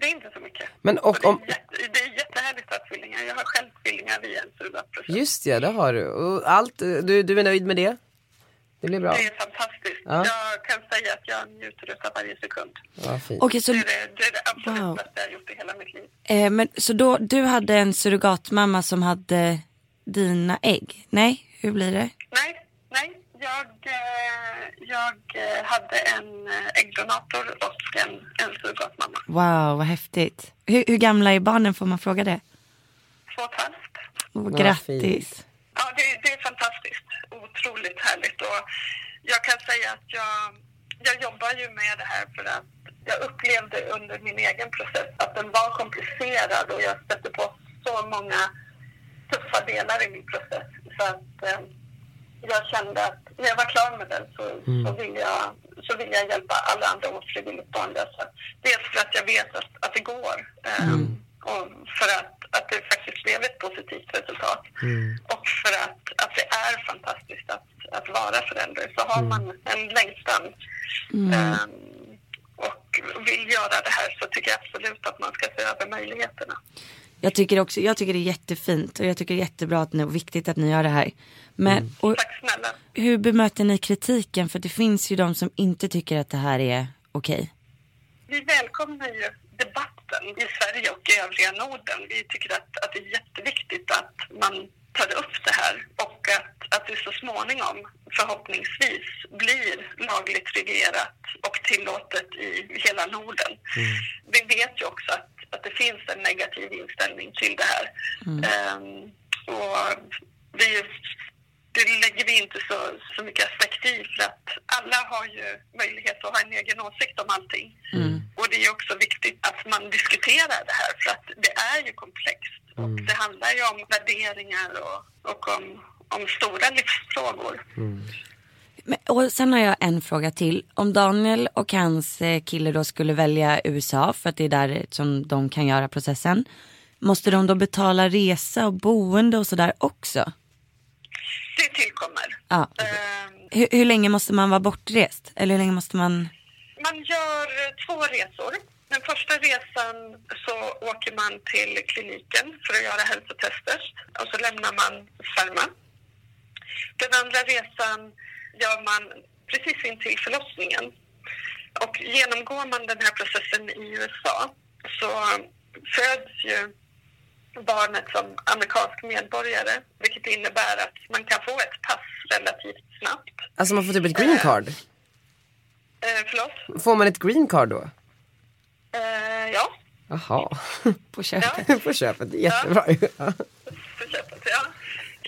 Speaker 7: Det är inte så mycket.
Speaker 1: Men och
Speaker 7: det, är
Speaker 1: om-
Speaker 7: jätte, det är jättehärligt att ha tvillingar. Jag har själv tvillingar via en surrogatprocess.
Speaker 1: Just ja, det har du. Och allt, eh, du, du är nöjd med det? Det blir bra?
Speaker 7: Det är fantastiskt.
Speaker 1: Ja.
Speaker 7: Jag kan säga att jag njuter av varje sekund.
Speaker 1: Ja, fint.
Speaker 2: Okej, så,
Speaker 7: Det är det, det, är det absolut
Speaker 2: Wow.
Speaker 7: bästa jag har gjort i hela mitt liv.
Speaker 2: eh, men, så då, du hade en surrogatmamma som hade dina ägg? Nej, hur blir det?
Speaker 7: Nej, nej. Jag, eh, jag eh, hade en eh, äggdonator och en, en surrogatmamma.
Speaker 2: Wow, vad häftigt. Hur, hur gamla är barnen, får man fråga det?
Speaker 7: Två och ett halvt.
Speaker 2: Åh,
Speaker 1: Ja,
Speaker 2: grattis.
Speaker 7: Ja, det, det är fantastiskt. Otroligt härligt. Och jag kan säga att jag, jag jobbar ju med det här för att jag upplevde under min egen process att den var komplicerad och jag stötte på så många tuffa delar i min process. Så att eh, jag kände att när jag var klar med den så, så, vill, jag, så vill jag hjälpa alla andra ofrivilligt barnlösa. Dels för att jag vet att, att det går eh, och för att, att det faktiskt blev ett positivt resultat och för att, att det är fantastiskt att, att vara förälder. Så har man en längtan eh, och vill göra det här så tycker jag absolut att man ska se över möjligheterna.
Speaker 2: Jag tycker också, jag tycker det är jättefint och jag tycker det är jättebra att ni, och viktigt att ni gör det här. Men och,
Speaker 7: Tack snälla.
Speaker 2: hur bemöter ni kritiken? För det finns ju de som inte tycker att det här är okej.
Speaker 7: Vi välkomnar ju debatten i Sverige och i övriga Norden. Vi tycker att, att det är jätteviktigt att man tar upp det här och att, att det så småningom förhoppningsvis blir lagligt reglerat och tillåtet i hela Norden. Vi vet ju också att, att det finns en negativ inställning till det här. Ehm, och vi det lägger vi inte så, så mycket aspekt i för att alla har ju möjlighet att ha en egen åsikt om allting. Och det är ju också viktigt att man diskuterar det här för att det är ju komplext och det handlar ju om värderingar och, och om, om stora livsfrågor.
Speaker 2: Men, och sen har jag en fråga till. Om Daniel och hans eh, kille då skulle välja USA för att det är där som de kan göra processen. Måste de då betala resa och boende och sådär också?
Speaker 7: Det tillkommer.
Speaker 2: Ja.
Speaker 7: Ehm,
Speaker 2: Hur, hur länge måste man vara bortrest? Eller hur länge måste man?
Speaker 7: Man gör eh, två resor. Den första resan så åker man till kliniken för att göra hälsotester och så lämnar man Sverma. Den andra resan gör man precis intill förlossningen. Och genomgår man den här processen i USA så föds ju barnet som amerikansk medborgare vilket innebär att man kan få ett pass relativt snabbt.
Speaker 1: Alltså man får typ ett green card.
Speaker 7: Eh, förlåt?
Speaker 1: Får man ett green card då?
Speaker 7: Eh, ja.
Speaker 1: Jaha.
Speaker 2: På köpet?
Speaker 7: Ja.
Speaker 1: På köpet, det är jättebra ju. Ja.
Speaker 7: för köpet, ja.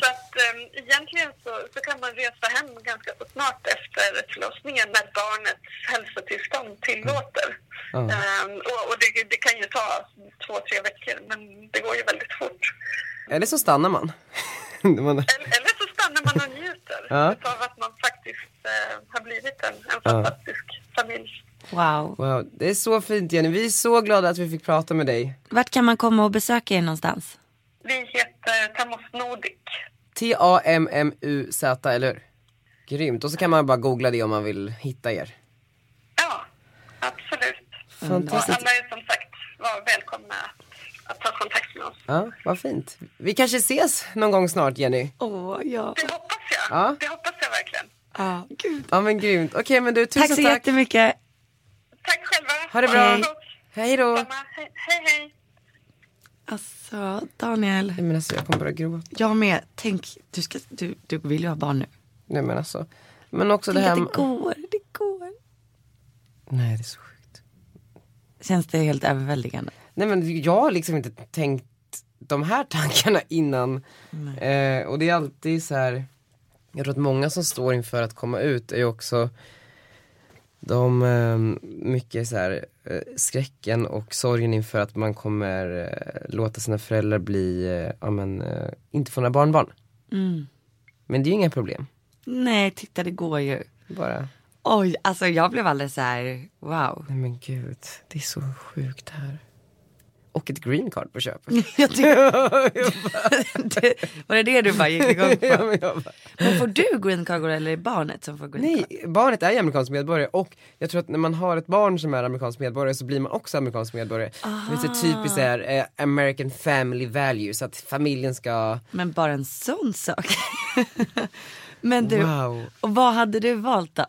Speaker 7: Så att um, egentligen så, så kan man resa hem ganska så snart efter förlossningen när barnets hälsotillstånd tillåter.
Speaker 1: Ja.
Speaker 7: Ehm, och och det, det kan ju ta två, tre veckor, men det går ju väldigt fort.
Speaker 1: Eller så stannar man. Man-
Speaker 7: Eller, eller så stannar man och njuter
Speaker 1: Ja.
Speaker 7: utav att man faktiskt eh, har blivit en, en fantastisk familj.
Speaker 2: Wow.
Speaker 1: Wow, det är så fint Jenny. Vi är så glada att vi fick prata med dig.
Speaker 2: Vart kan man komma och besöka er någonstans?
Speaker 7: Vi heter Tamos Nordic.
Speaker 1: T-A-M-M-U-Z, eller hur? Grymt. Och så kan man bara googla det om man vill hitta er.
Speaker 7: Ja, absolut. Och
Speaker 1: Fantastiskt.
Speaker 7: alla är som sagt var välkomna att, att ta kontakt med oss.
Speaker 1: Ja, vad fint. Vi kanske ses någon gång snart Jenny.
Speaker 2: Åh, ja.
Speaker 7: Det hoppas jag.
Speaker 1: Ja.
Speaker 7: Det hoppas jag verkligen.
Speaker 2: ja. Gud.
Speaker 1: Ja men grymt. Okej men du, tusen
Speaker 2: Tack
Speaker 1: tack.
Speaker 2: så jättemycket.
Speaker 7: Tack själva.
Speaker 1: Ha det bra.
Speaker 7: Ha gott.
Speaker 1: Hej då.
Speaker 7: Detsamma. Hej, hej. hej.
Speaker 2: Alltså, Daniel.
Speaker 1: Nej men alltså jag kommer börja gråta.
Speaker 2: Jag med. Tänk, du, ska, du, du vill ju ha barn nu.
Speaker 1: Nej men alltså. Men också det
Speaker 2: Tänk
Speaker 1: här
Speaker 2: att det går, det går.
Speaker 1: Nej det är så sjukt.
Speaker 2: Känns det helt överväldigande?
Speaker 1: Nej men jag har liksom inte tänkt de här tankarna innan. Eh, och det är alltid så här. Jag tror att många som står inför att komma ut är ju också de, eh, mycket så här, eh, skräcken och sorgen inför att man kommer eh, låta sina föräldrar bli, eh, ja men, eh, inte få några barnbarn. Men det är ju inga problem,
Speaker 2: Nej, titta det går ju.
Speaker 1: bara
Speaker 2: Oj, alltså jag blev alldeles så här, wow.
Speaker 1: Nej men gud, det är så sjukt här. Och ett green card på köpet.
Speaker 2: Jag tyck- det, var det det du bara gick igång
Speaker 1: ja,
Speaker 2: på?
Speaker 1: men jag bara,
Speaker 2: Men får du green card eller är det barnet som får green card?
Speaker 1: nej, barnet är ju amerikansk medborgare och jag tror att när man har ett barn som är amerikansk medborgare så blir man också amerikansk medborgare. Det finns ett typiskt så här, eh, American family values, att familjen ska,
Speaker 2: Men bara en sån sak. Men du,
Speaker 1: wow.
Speaker 2: och vad hade du valt då?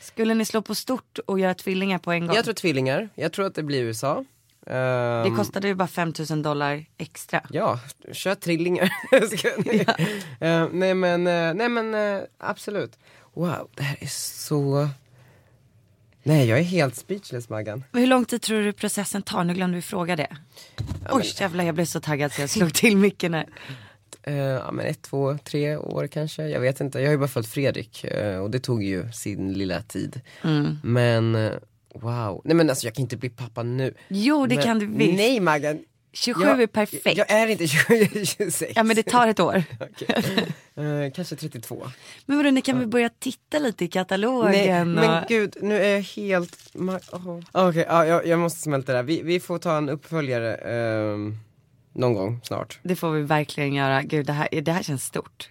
Speaker 2: Skulle ni slå på stort och göra tvillingar på en gång?
Speaker 1: Jag tror tvillingar, jag tror att det blir USA. Ehm,
Speaker 2: Det kostade ju bara 5000 dollar extra.
Speaker 1: Ja, kör trillingar. Ska ni- Eh, nej men, eh, nej men eh, absolut. Wow, det här är så... Nej jag är helt speechless Maggan.
Speaker 2: Men hur lång tid tror du processen tar? Nu glömde vi fråga det. Oj jävlar jag blev så taggad så jag slog till micken här.
Speaker 1: Eh, ja men ett, två, tre år kanske. Jag
Speaker 2: Mm.
Speaker 1: vet inte. Jag har ju bara följt Fredrik eh, och det tog ju sin lilla tid. Men eh, Wow. Nej men alltså jag kan inte bli pappa nu.
Speaker 2: Jo det
Speaker 1: men,
Speaker 2: kan du visst.
Speaker 1: Nej Maggan.
Speaker 2: 27
Speaker 1: jag,
Speaker 2: är perfekt.
Speaker 1: Jag är inte 27, jag är 26.
Speaker 2: Ja men det tar ett år.
Speaker 1: Eh, kanske 32.
Speaker 2: Men vadå, ni kan väl börja titta lite i katalogen
Speaker 1: Nej, men
Speaker 2: och...
Speaker 1: gud, nu är jag helt... ma- åh. Okej, ja, jag, jag måste smälta det här. Vi, vi får ta en uppföljare ehm, någon gång snart.
Speaker 2: Det får vi verkligen göra. Gud, det här, det här känns stort.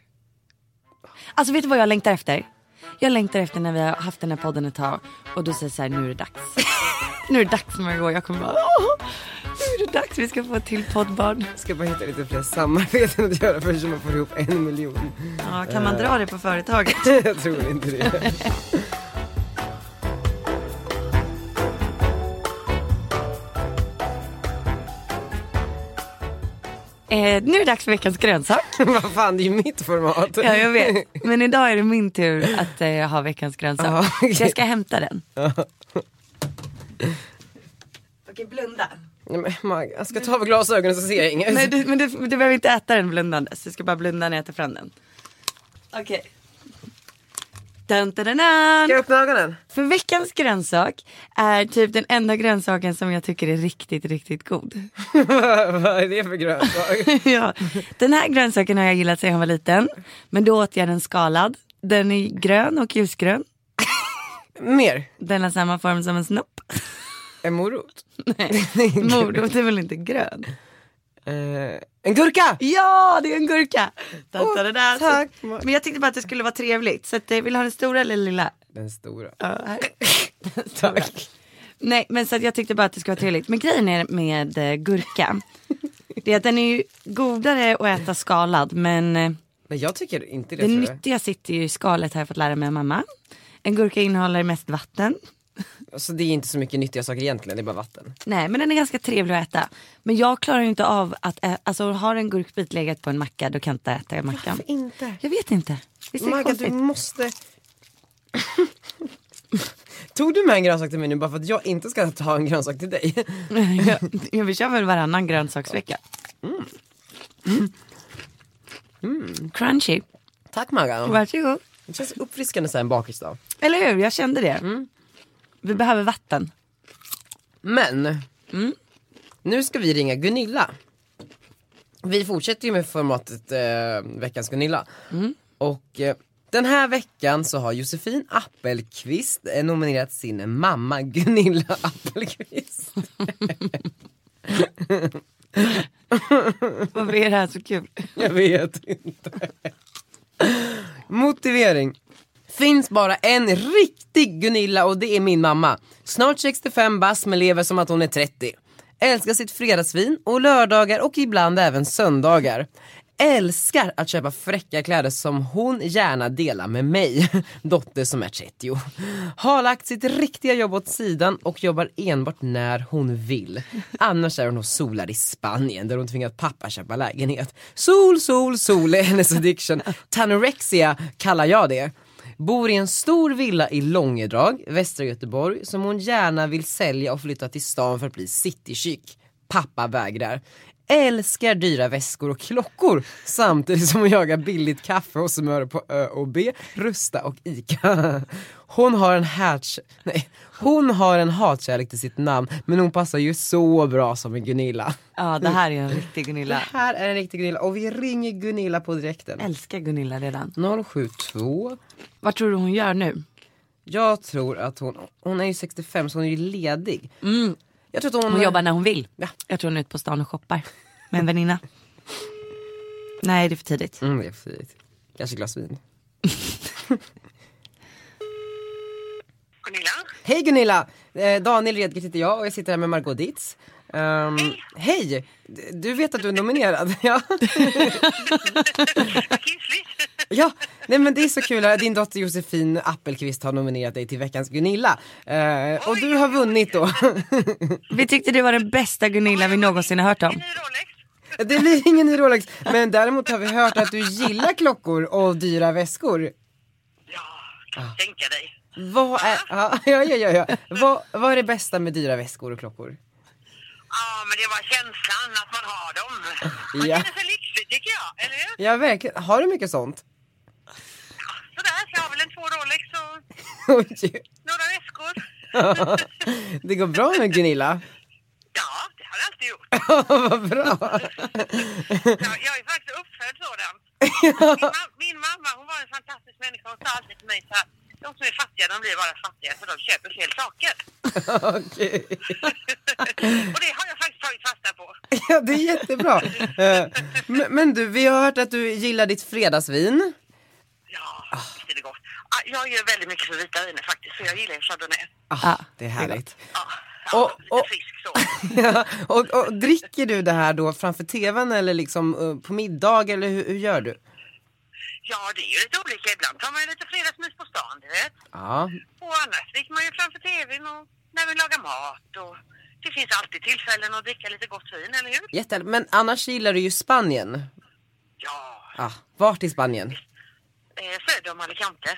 Speaker 2: Alltså vet du vad jag längtar efter? Jag längtar efter när vi har haft den här podden ett tag och du säger så här, nu är det dags. nu är det dags Margot. Jag kommer bara, åh, nu är det dags. Vi ska få ett till poddbarn.
Speaker 1: Jag ska bara hitta lite fler samarbeten att göra förrän man får ihop en miljon.
Speaker 2: Ja, kan man dra det på företaget?
Speaker 1: jag tror inte det.
Speaker 2: Eh, nu är det dags för veckans grönsak.
Speaker 1: Vad fan, det är ju mitt format.
Speaker 2: Ja, jag vet. Men idag är det min tur att eh, ha veckans grönsak.
Speaker 1: Ja, okej.
Speaker 2: Så jag ska hämta den. Okej, blunda.
Speaker 1: Nej, men Mag, jag ska ta av glasögonen så ser jag inget.
Speaker 2: Nej, du, men du, du behöver inte äta den blundandes. Du ska bara blunda när jag tar fram den. Okej. Dun, dun, dun,
Speaker 1: Ska jag
Speaker 2: dun.
Speaker 1: öppna ögonen?
Speaker 2: För veckans grönsak är typ den enda grönsaken som jag tycker är riktigt, riktigt god.
Speaker 1: Vad är det för grönsak?
Speaker 2: ja. Den här grönsaken har jag gillat sedan jag var liten. Men då åt jag den skalad. Den är grön och ljusgrön.
Speaker 1: Mer?
Speaker 2: Den har samma form som en snopp.
Speaker 1: En morot?
Speaker 2: Morot är väl inte grön?
Speaker 1: Eh, en gurka!
Speaker 2: Ja, det är en gurka! Da,
Speaker 1: Åh,
Speaker 2: da, da, da.
Speaker 1: tack.
Speaker 2: Men jag tänkte bara att det skulle vara trevligt. Så att jag vill ha den stora eller lilla?
Speaker 1: Den stora.
Speaker 2: Ja, här.
Speaker 1: Tack.
Speaker 2: Nej, men så att jag tyckte bara att det skulle vara trevligt. Men grejen är med eh, gurka. Det är att den är ju godare att äta skalad. Men eh,
Speaker 1: Men jag tycker inte det,
Speaker 2: det
Speaker 1: tror jag.
Speaker 2: nyttiga sitter ju i skalet har jag fått lära mig av mamma. En gurka innehåller mest vatten.
Speaker 1: Så Alltså, det är inte så mycket nyttiga saker egentligen, det är bara vatten.
Speaker 2: Nej, men den är ganska trevlig att äta. Men jag klarar ju inte av att ä- alltså har en gurkbit legat på en macka då kan jag inte äta mackan.
Speaker 1: inte?
Speaker 2: Jag vet inte. Visst är det
Speaker 1: Maggan Oh du
Speaker 2: konstigt?
Speaker 1: måste... Tog du med en grönsak till mig nu bara för att jag inte ska ta en grönsak till dig?
Speaker 2: jag, jag vill köra väl varannan grönsaksvecka.
Speaker 1: Mm.
Speaker 2: Mm. Crunchy.
Speaker 1: Tack Maggan.
Speaker 2: Varsågod.
Speaker 1: Det känns uppfriskande så här en bakisdag.
Speaker 2: Eller hur, jag kände det. Vi behöver vatten.
Speaker 1: Men, mm. nu ska vi ringa Gunilla. Vi fortsätter ju med formatet eh, veckans Gunilla. Och eh, den här veckan så har Josefin Appelqvist eh, nominerat sin mamma Gunilla Appelqvist.
Speaker 2: Varför är det här så kul?
Speaker 1: Jag vet inte. Motivering. Finns bara en riktig Gunilla och det är min mamma. Snart 65 bass men lever som att hon är 30. Älskar sitt fredagsvin och lördagar och ibland även söndagar. Älskar att köpa fräcka kläder som hon gärna delar med mig, dotter som är 30. Har lagt sitt riktiga jobb åt sidan och jobbar enbart när hon vill. Annars är hon och solar i Spanien där hon tvingat pappa köpa lägenhet. Sol, sol, sol är hennes addiction. Tanorexia kallar jag det. Bor i en stor villa i Långedrag, västra Göteborg, som hon gärna vill sälja och flytta till stan för att bli citychic. Pappa vägrar. Älskar dyra väskor och klockor samtidigt som hon jagar billigt kaffe och smör på Ö och B, Rusta och Ica. Hon har en hatch... Nej, hon har en hatkärlek till sitt namn men hon passar ju så bra som en Gunilla.
Speaker 2: Ja, det här är en riktig Gunilla.
Speaker 1: Det här är en riktig Gunilla och vi ringer Gunilla på direkten.
Speaker 2: Älskar Gunilla redan.
Speaker 1: 072
Speaker 2: Vad tror du hon gör nu?
Speaker 1: Jag tror att hon, hon är ju 65 så hon är ju ledig. Jag tror att hon,
Speaker 2: Hon jobbar när hon vill.
Speaker 1: Ja.
Speaker 2: Jag tror hon är ute på stan och shoppar med en väninna. Nej, det är för tidigt.
Speaker 1: Mm, det är för tidigt. Kanske ett glas vin.
Speaker 5: Gunilla?
Speaker 1: Hej Gunilla! Eh, Daniel Redgert heter jag och jag sitter här med Margot Dietz. Ehm, hej! D- Du vet att du är nominerad? ja.
Speaker 5: Kissligt.
Speaker 1: ja. Nej men det är så kul, att din dotter Josefin Appelqvist har nominerat dig till veckans Gunilla. Eh, och du har vunnit då.
Speaker 2: Vi tyckte det var den bästa Gunilla vi någonsin har hört om.
Speaker 5: Ny Rolex.
Speaker 1: det blir ingen ny Rolex. Men däremot har vi hört att du gillar klockor och dyra väskor.
Speaker 5: Ja, kan
Speaker 1: Ah.
Speaker 5: du tänka dig.
Speaker 1: Vad är, ja, ja, ja, ja. Vad, vad är det bästa med dyra väskor och klockor?
Speaker 5: Ja, men det var känslan att man har dem. Man
Speaker 1: Ja.
Speaker 5: känner sig lycklig tycker jag, eller hur?
Speaker 1: Ja, verkligen. Har du mycket sånt?
Speaker 5: Sådär, så jag har väl en två Rolex och
Speaker 1: Oj.
Speaker 5: några väskor.
Speaker 1: Det går bra nu Gunilla.
Speaker 7: Ja, det har jag alltid gjort.
Speaker 1: Vad bra.
Speaker 7: Jag, jag är faktiskt uppfödd sådan. Min, mam- min mamma hon var en fantastisk människa. Hon sa alltid till mig så här. De som är fattiga de blir bara fattiga för de köper fel saker.
Speaker 1: Okej.
Speaker 7: Och det har jag faktiskt tagit fasta på.
Speaker 1: Ja, det är jättebra. Eh, Men, men du, vi har hört att du gillar ditt fredagsvin.
Speaker 7: Ja, visst är det gott. Ah, Jag gör väldigt mycket för vita viner faktiskt. Så jag gillar ju chardonnay.
Speaker 1: Ah, det är härligt.
Speaker 7: Ja,
Speaker 1: Och-
Speaker 7: ja,
Speaker 1: och-
Speaker 7: lite frisk så.
Speaker 1: Ja, och, och dricker du det här då framför tvn eller liksom eh, på middag eller hur, hur gör du?
Speaker 7: Ja, det är ju lite olika. Ibland tar man ju lite fredagsmys på stan, du vet.
Speaker 1: Ja,
Speaker 7: Och annars dricker man ju framför tvn och när vi lagar mat. Och det finns alltid tillfällen att dricka lite gott vin, eller hur?
Speaker 1: jätte. Men annars gillar du ju Spanien.
Speaker 7: Ja,
Speaker 1: Ah, vart i Spanien?
Speaker 7: eh, söder om Alicante.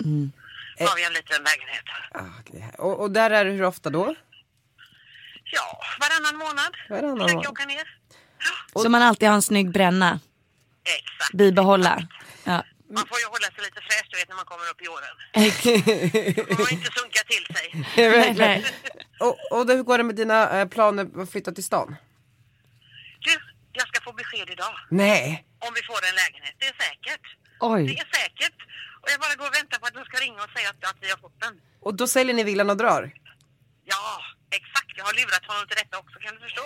Speaker 7: Mm. Har vi en liten lägenhet.
Speaker 1: Ah, det här- och, och där är du hur ofta då?
Speaker 7: Ja, varannan månad.
Speaker 1: Varannan
Speaker 7: Försöker
Speaker 1: månad.
Speaker 7: åka ner.
Speaker 2: Så man alltid har en snygg bränna.
Speaker 7: Exakt.
Speaker 2: Bibehålla. Ja.
Speaker 7: Man får ju hålla sig lite fräsch, du vet, när man kommer upp i åren. Man får inte sunka till sig.
Speaker 2: Nej, nej.
Speaker 1: Och, och då, hur går det med dina eh, planer att flytta till stan?
Speaker 7: Du, jag ska få besked idag
Speaker 1: Nej.
Speaker 7: om vi får en lägenhet. Det är säkert. Det
Speaker 2: Oj.
Speaker 7: är säkert. Och jag bara går och väntar på att de ska ringa och säga att, att vi har fått den.
Speaker 1: Och då säljer ni villan och drar?
Speaker 7: Ja, exakt. Jag har lurat honom till detta också, kan du förstå?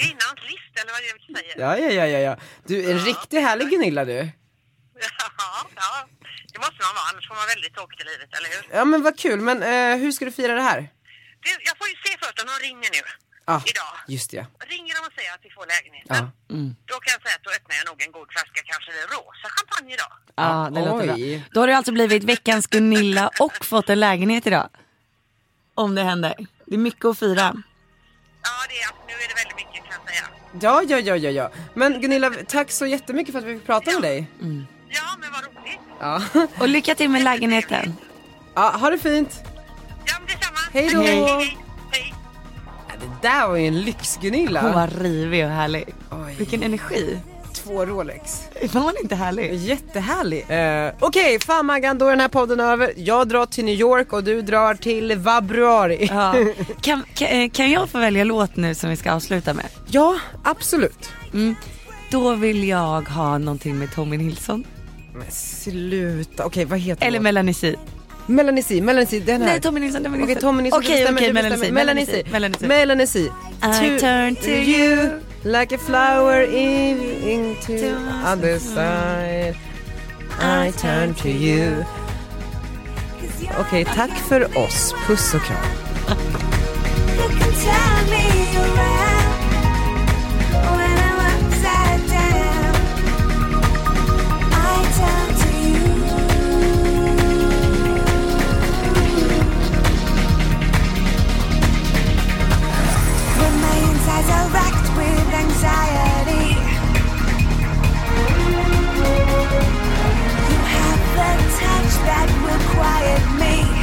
Speaker 7: Kvinnans list, eller vad det är vi säger.
Speaker 1: Ja, ja, ja, ja, ja. Du är en riktigt härlig Gunilla du.
Speaker 7: Ja, ja. Det måste man vara, annars får man väldigt tråkigt i livet, eller hur?
Speaker 1: Ja men vad kul, men eh, hur ska du fira det här?
Speaker 7: Du, jag får ju se först om de ringer nu.
Speaker 1: Ah,
Speaker 7: Idag.
Speaker 1: Just det. Ah.
Speaker 7: Ringer de och säger att vi får lägenheten,
Speaker 1: Ja.
Speaker 7: då kan jag säga att då öppnar jag nog en god flaska, kanske det är rosa champagne idag.
Speaker 2: Ja, det låter
Speaker 1: Oj.
Speaker 2: bra. Då har du alltså blivit veckans Gunilla och fått en lägenhet idag. Om det händer. Det är mycket att fira.
Speaker 7: Ja, det är, nu är det väldigt mycket kan jag säga.
Speaker 1: Ja, ja, ja, ja, ja. Men Gunilla, tack så jättemycket för att vi fick prata med dig.
Speaker 2: Mm.
Speaker 7: Ja, men vad roligt.
Speaker 1: Ja.
Speaker 2: Och lycka till med lägenheten.
Speaker 1: ja, ha det fint.
Speaker 7: Ja, men detsamma.
Speaker 1: Hej då.
Speaker 7: Hej, hej, hej.
Speaker 1: Ja, det där var ju en lyx-Gunilla.
Speaker 2: Hon var rivig och härlig.
Speaker 1: Oj.
Speaker 2: Vilken energi.
Speaker 1: två Rolex.
Speaker 2: Var hon inte härlig?
Speaker 1: Jättehärlig. Eh, Okej, fan Maggan, då är den här podden över. Jag drar till New York och du drar till Vabruari.
Speaker 2: Ja. Kan, kan, eh, kan jag få välja låt nu som vi ska avsluta med?
Speaker 1: Ja, absolut.
Speaker 2: Då vill jag ha någonting med Tommy Nilsson.
Speaker 1: Men sluta. Okej, vad heter
Speaker 2: Eller
Speaker 1: låten?
Speaker 2: Melanie C.
Speaker 1: Melanie C, Melanie C, den här.
Speaker 2: Nej, Tommy Nilsson, Tommy
Speaker 1: Okej,
Speaker 2: Nilsson.
Speaker 1: Tommy Nilsson.
Speaker 2: Okej,
Speaker 1: du bestämmer,
Speaker 2: okej,
Speaker 1: du
Speaker 2: Melanie C,
Speaker 1: bestämmer.
Speaker 2: Melanie C,
Speaker 1: Melanie
Speaker 2: Melanie
Speaker 1: C.
Speaker 2: C.
Speaker 1: Melanie C.
Speaker 2: I turn to you
Speaker 1: like a flower in, into
Speaker 2: To
Speaker 1: other side. I turn to you. Okej, tack för oss. Puss och kram.
Speaker 9: You can turn me around when I'm upside down. I turn to you. When my insides are racked with anxiety, you have the touch that will quiet me.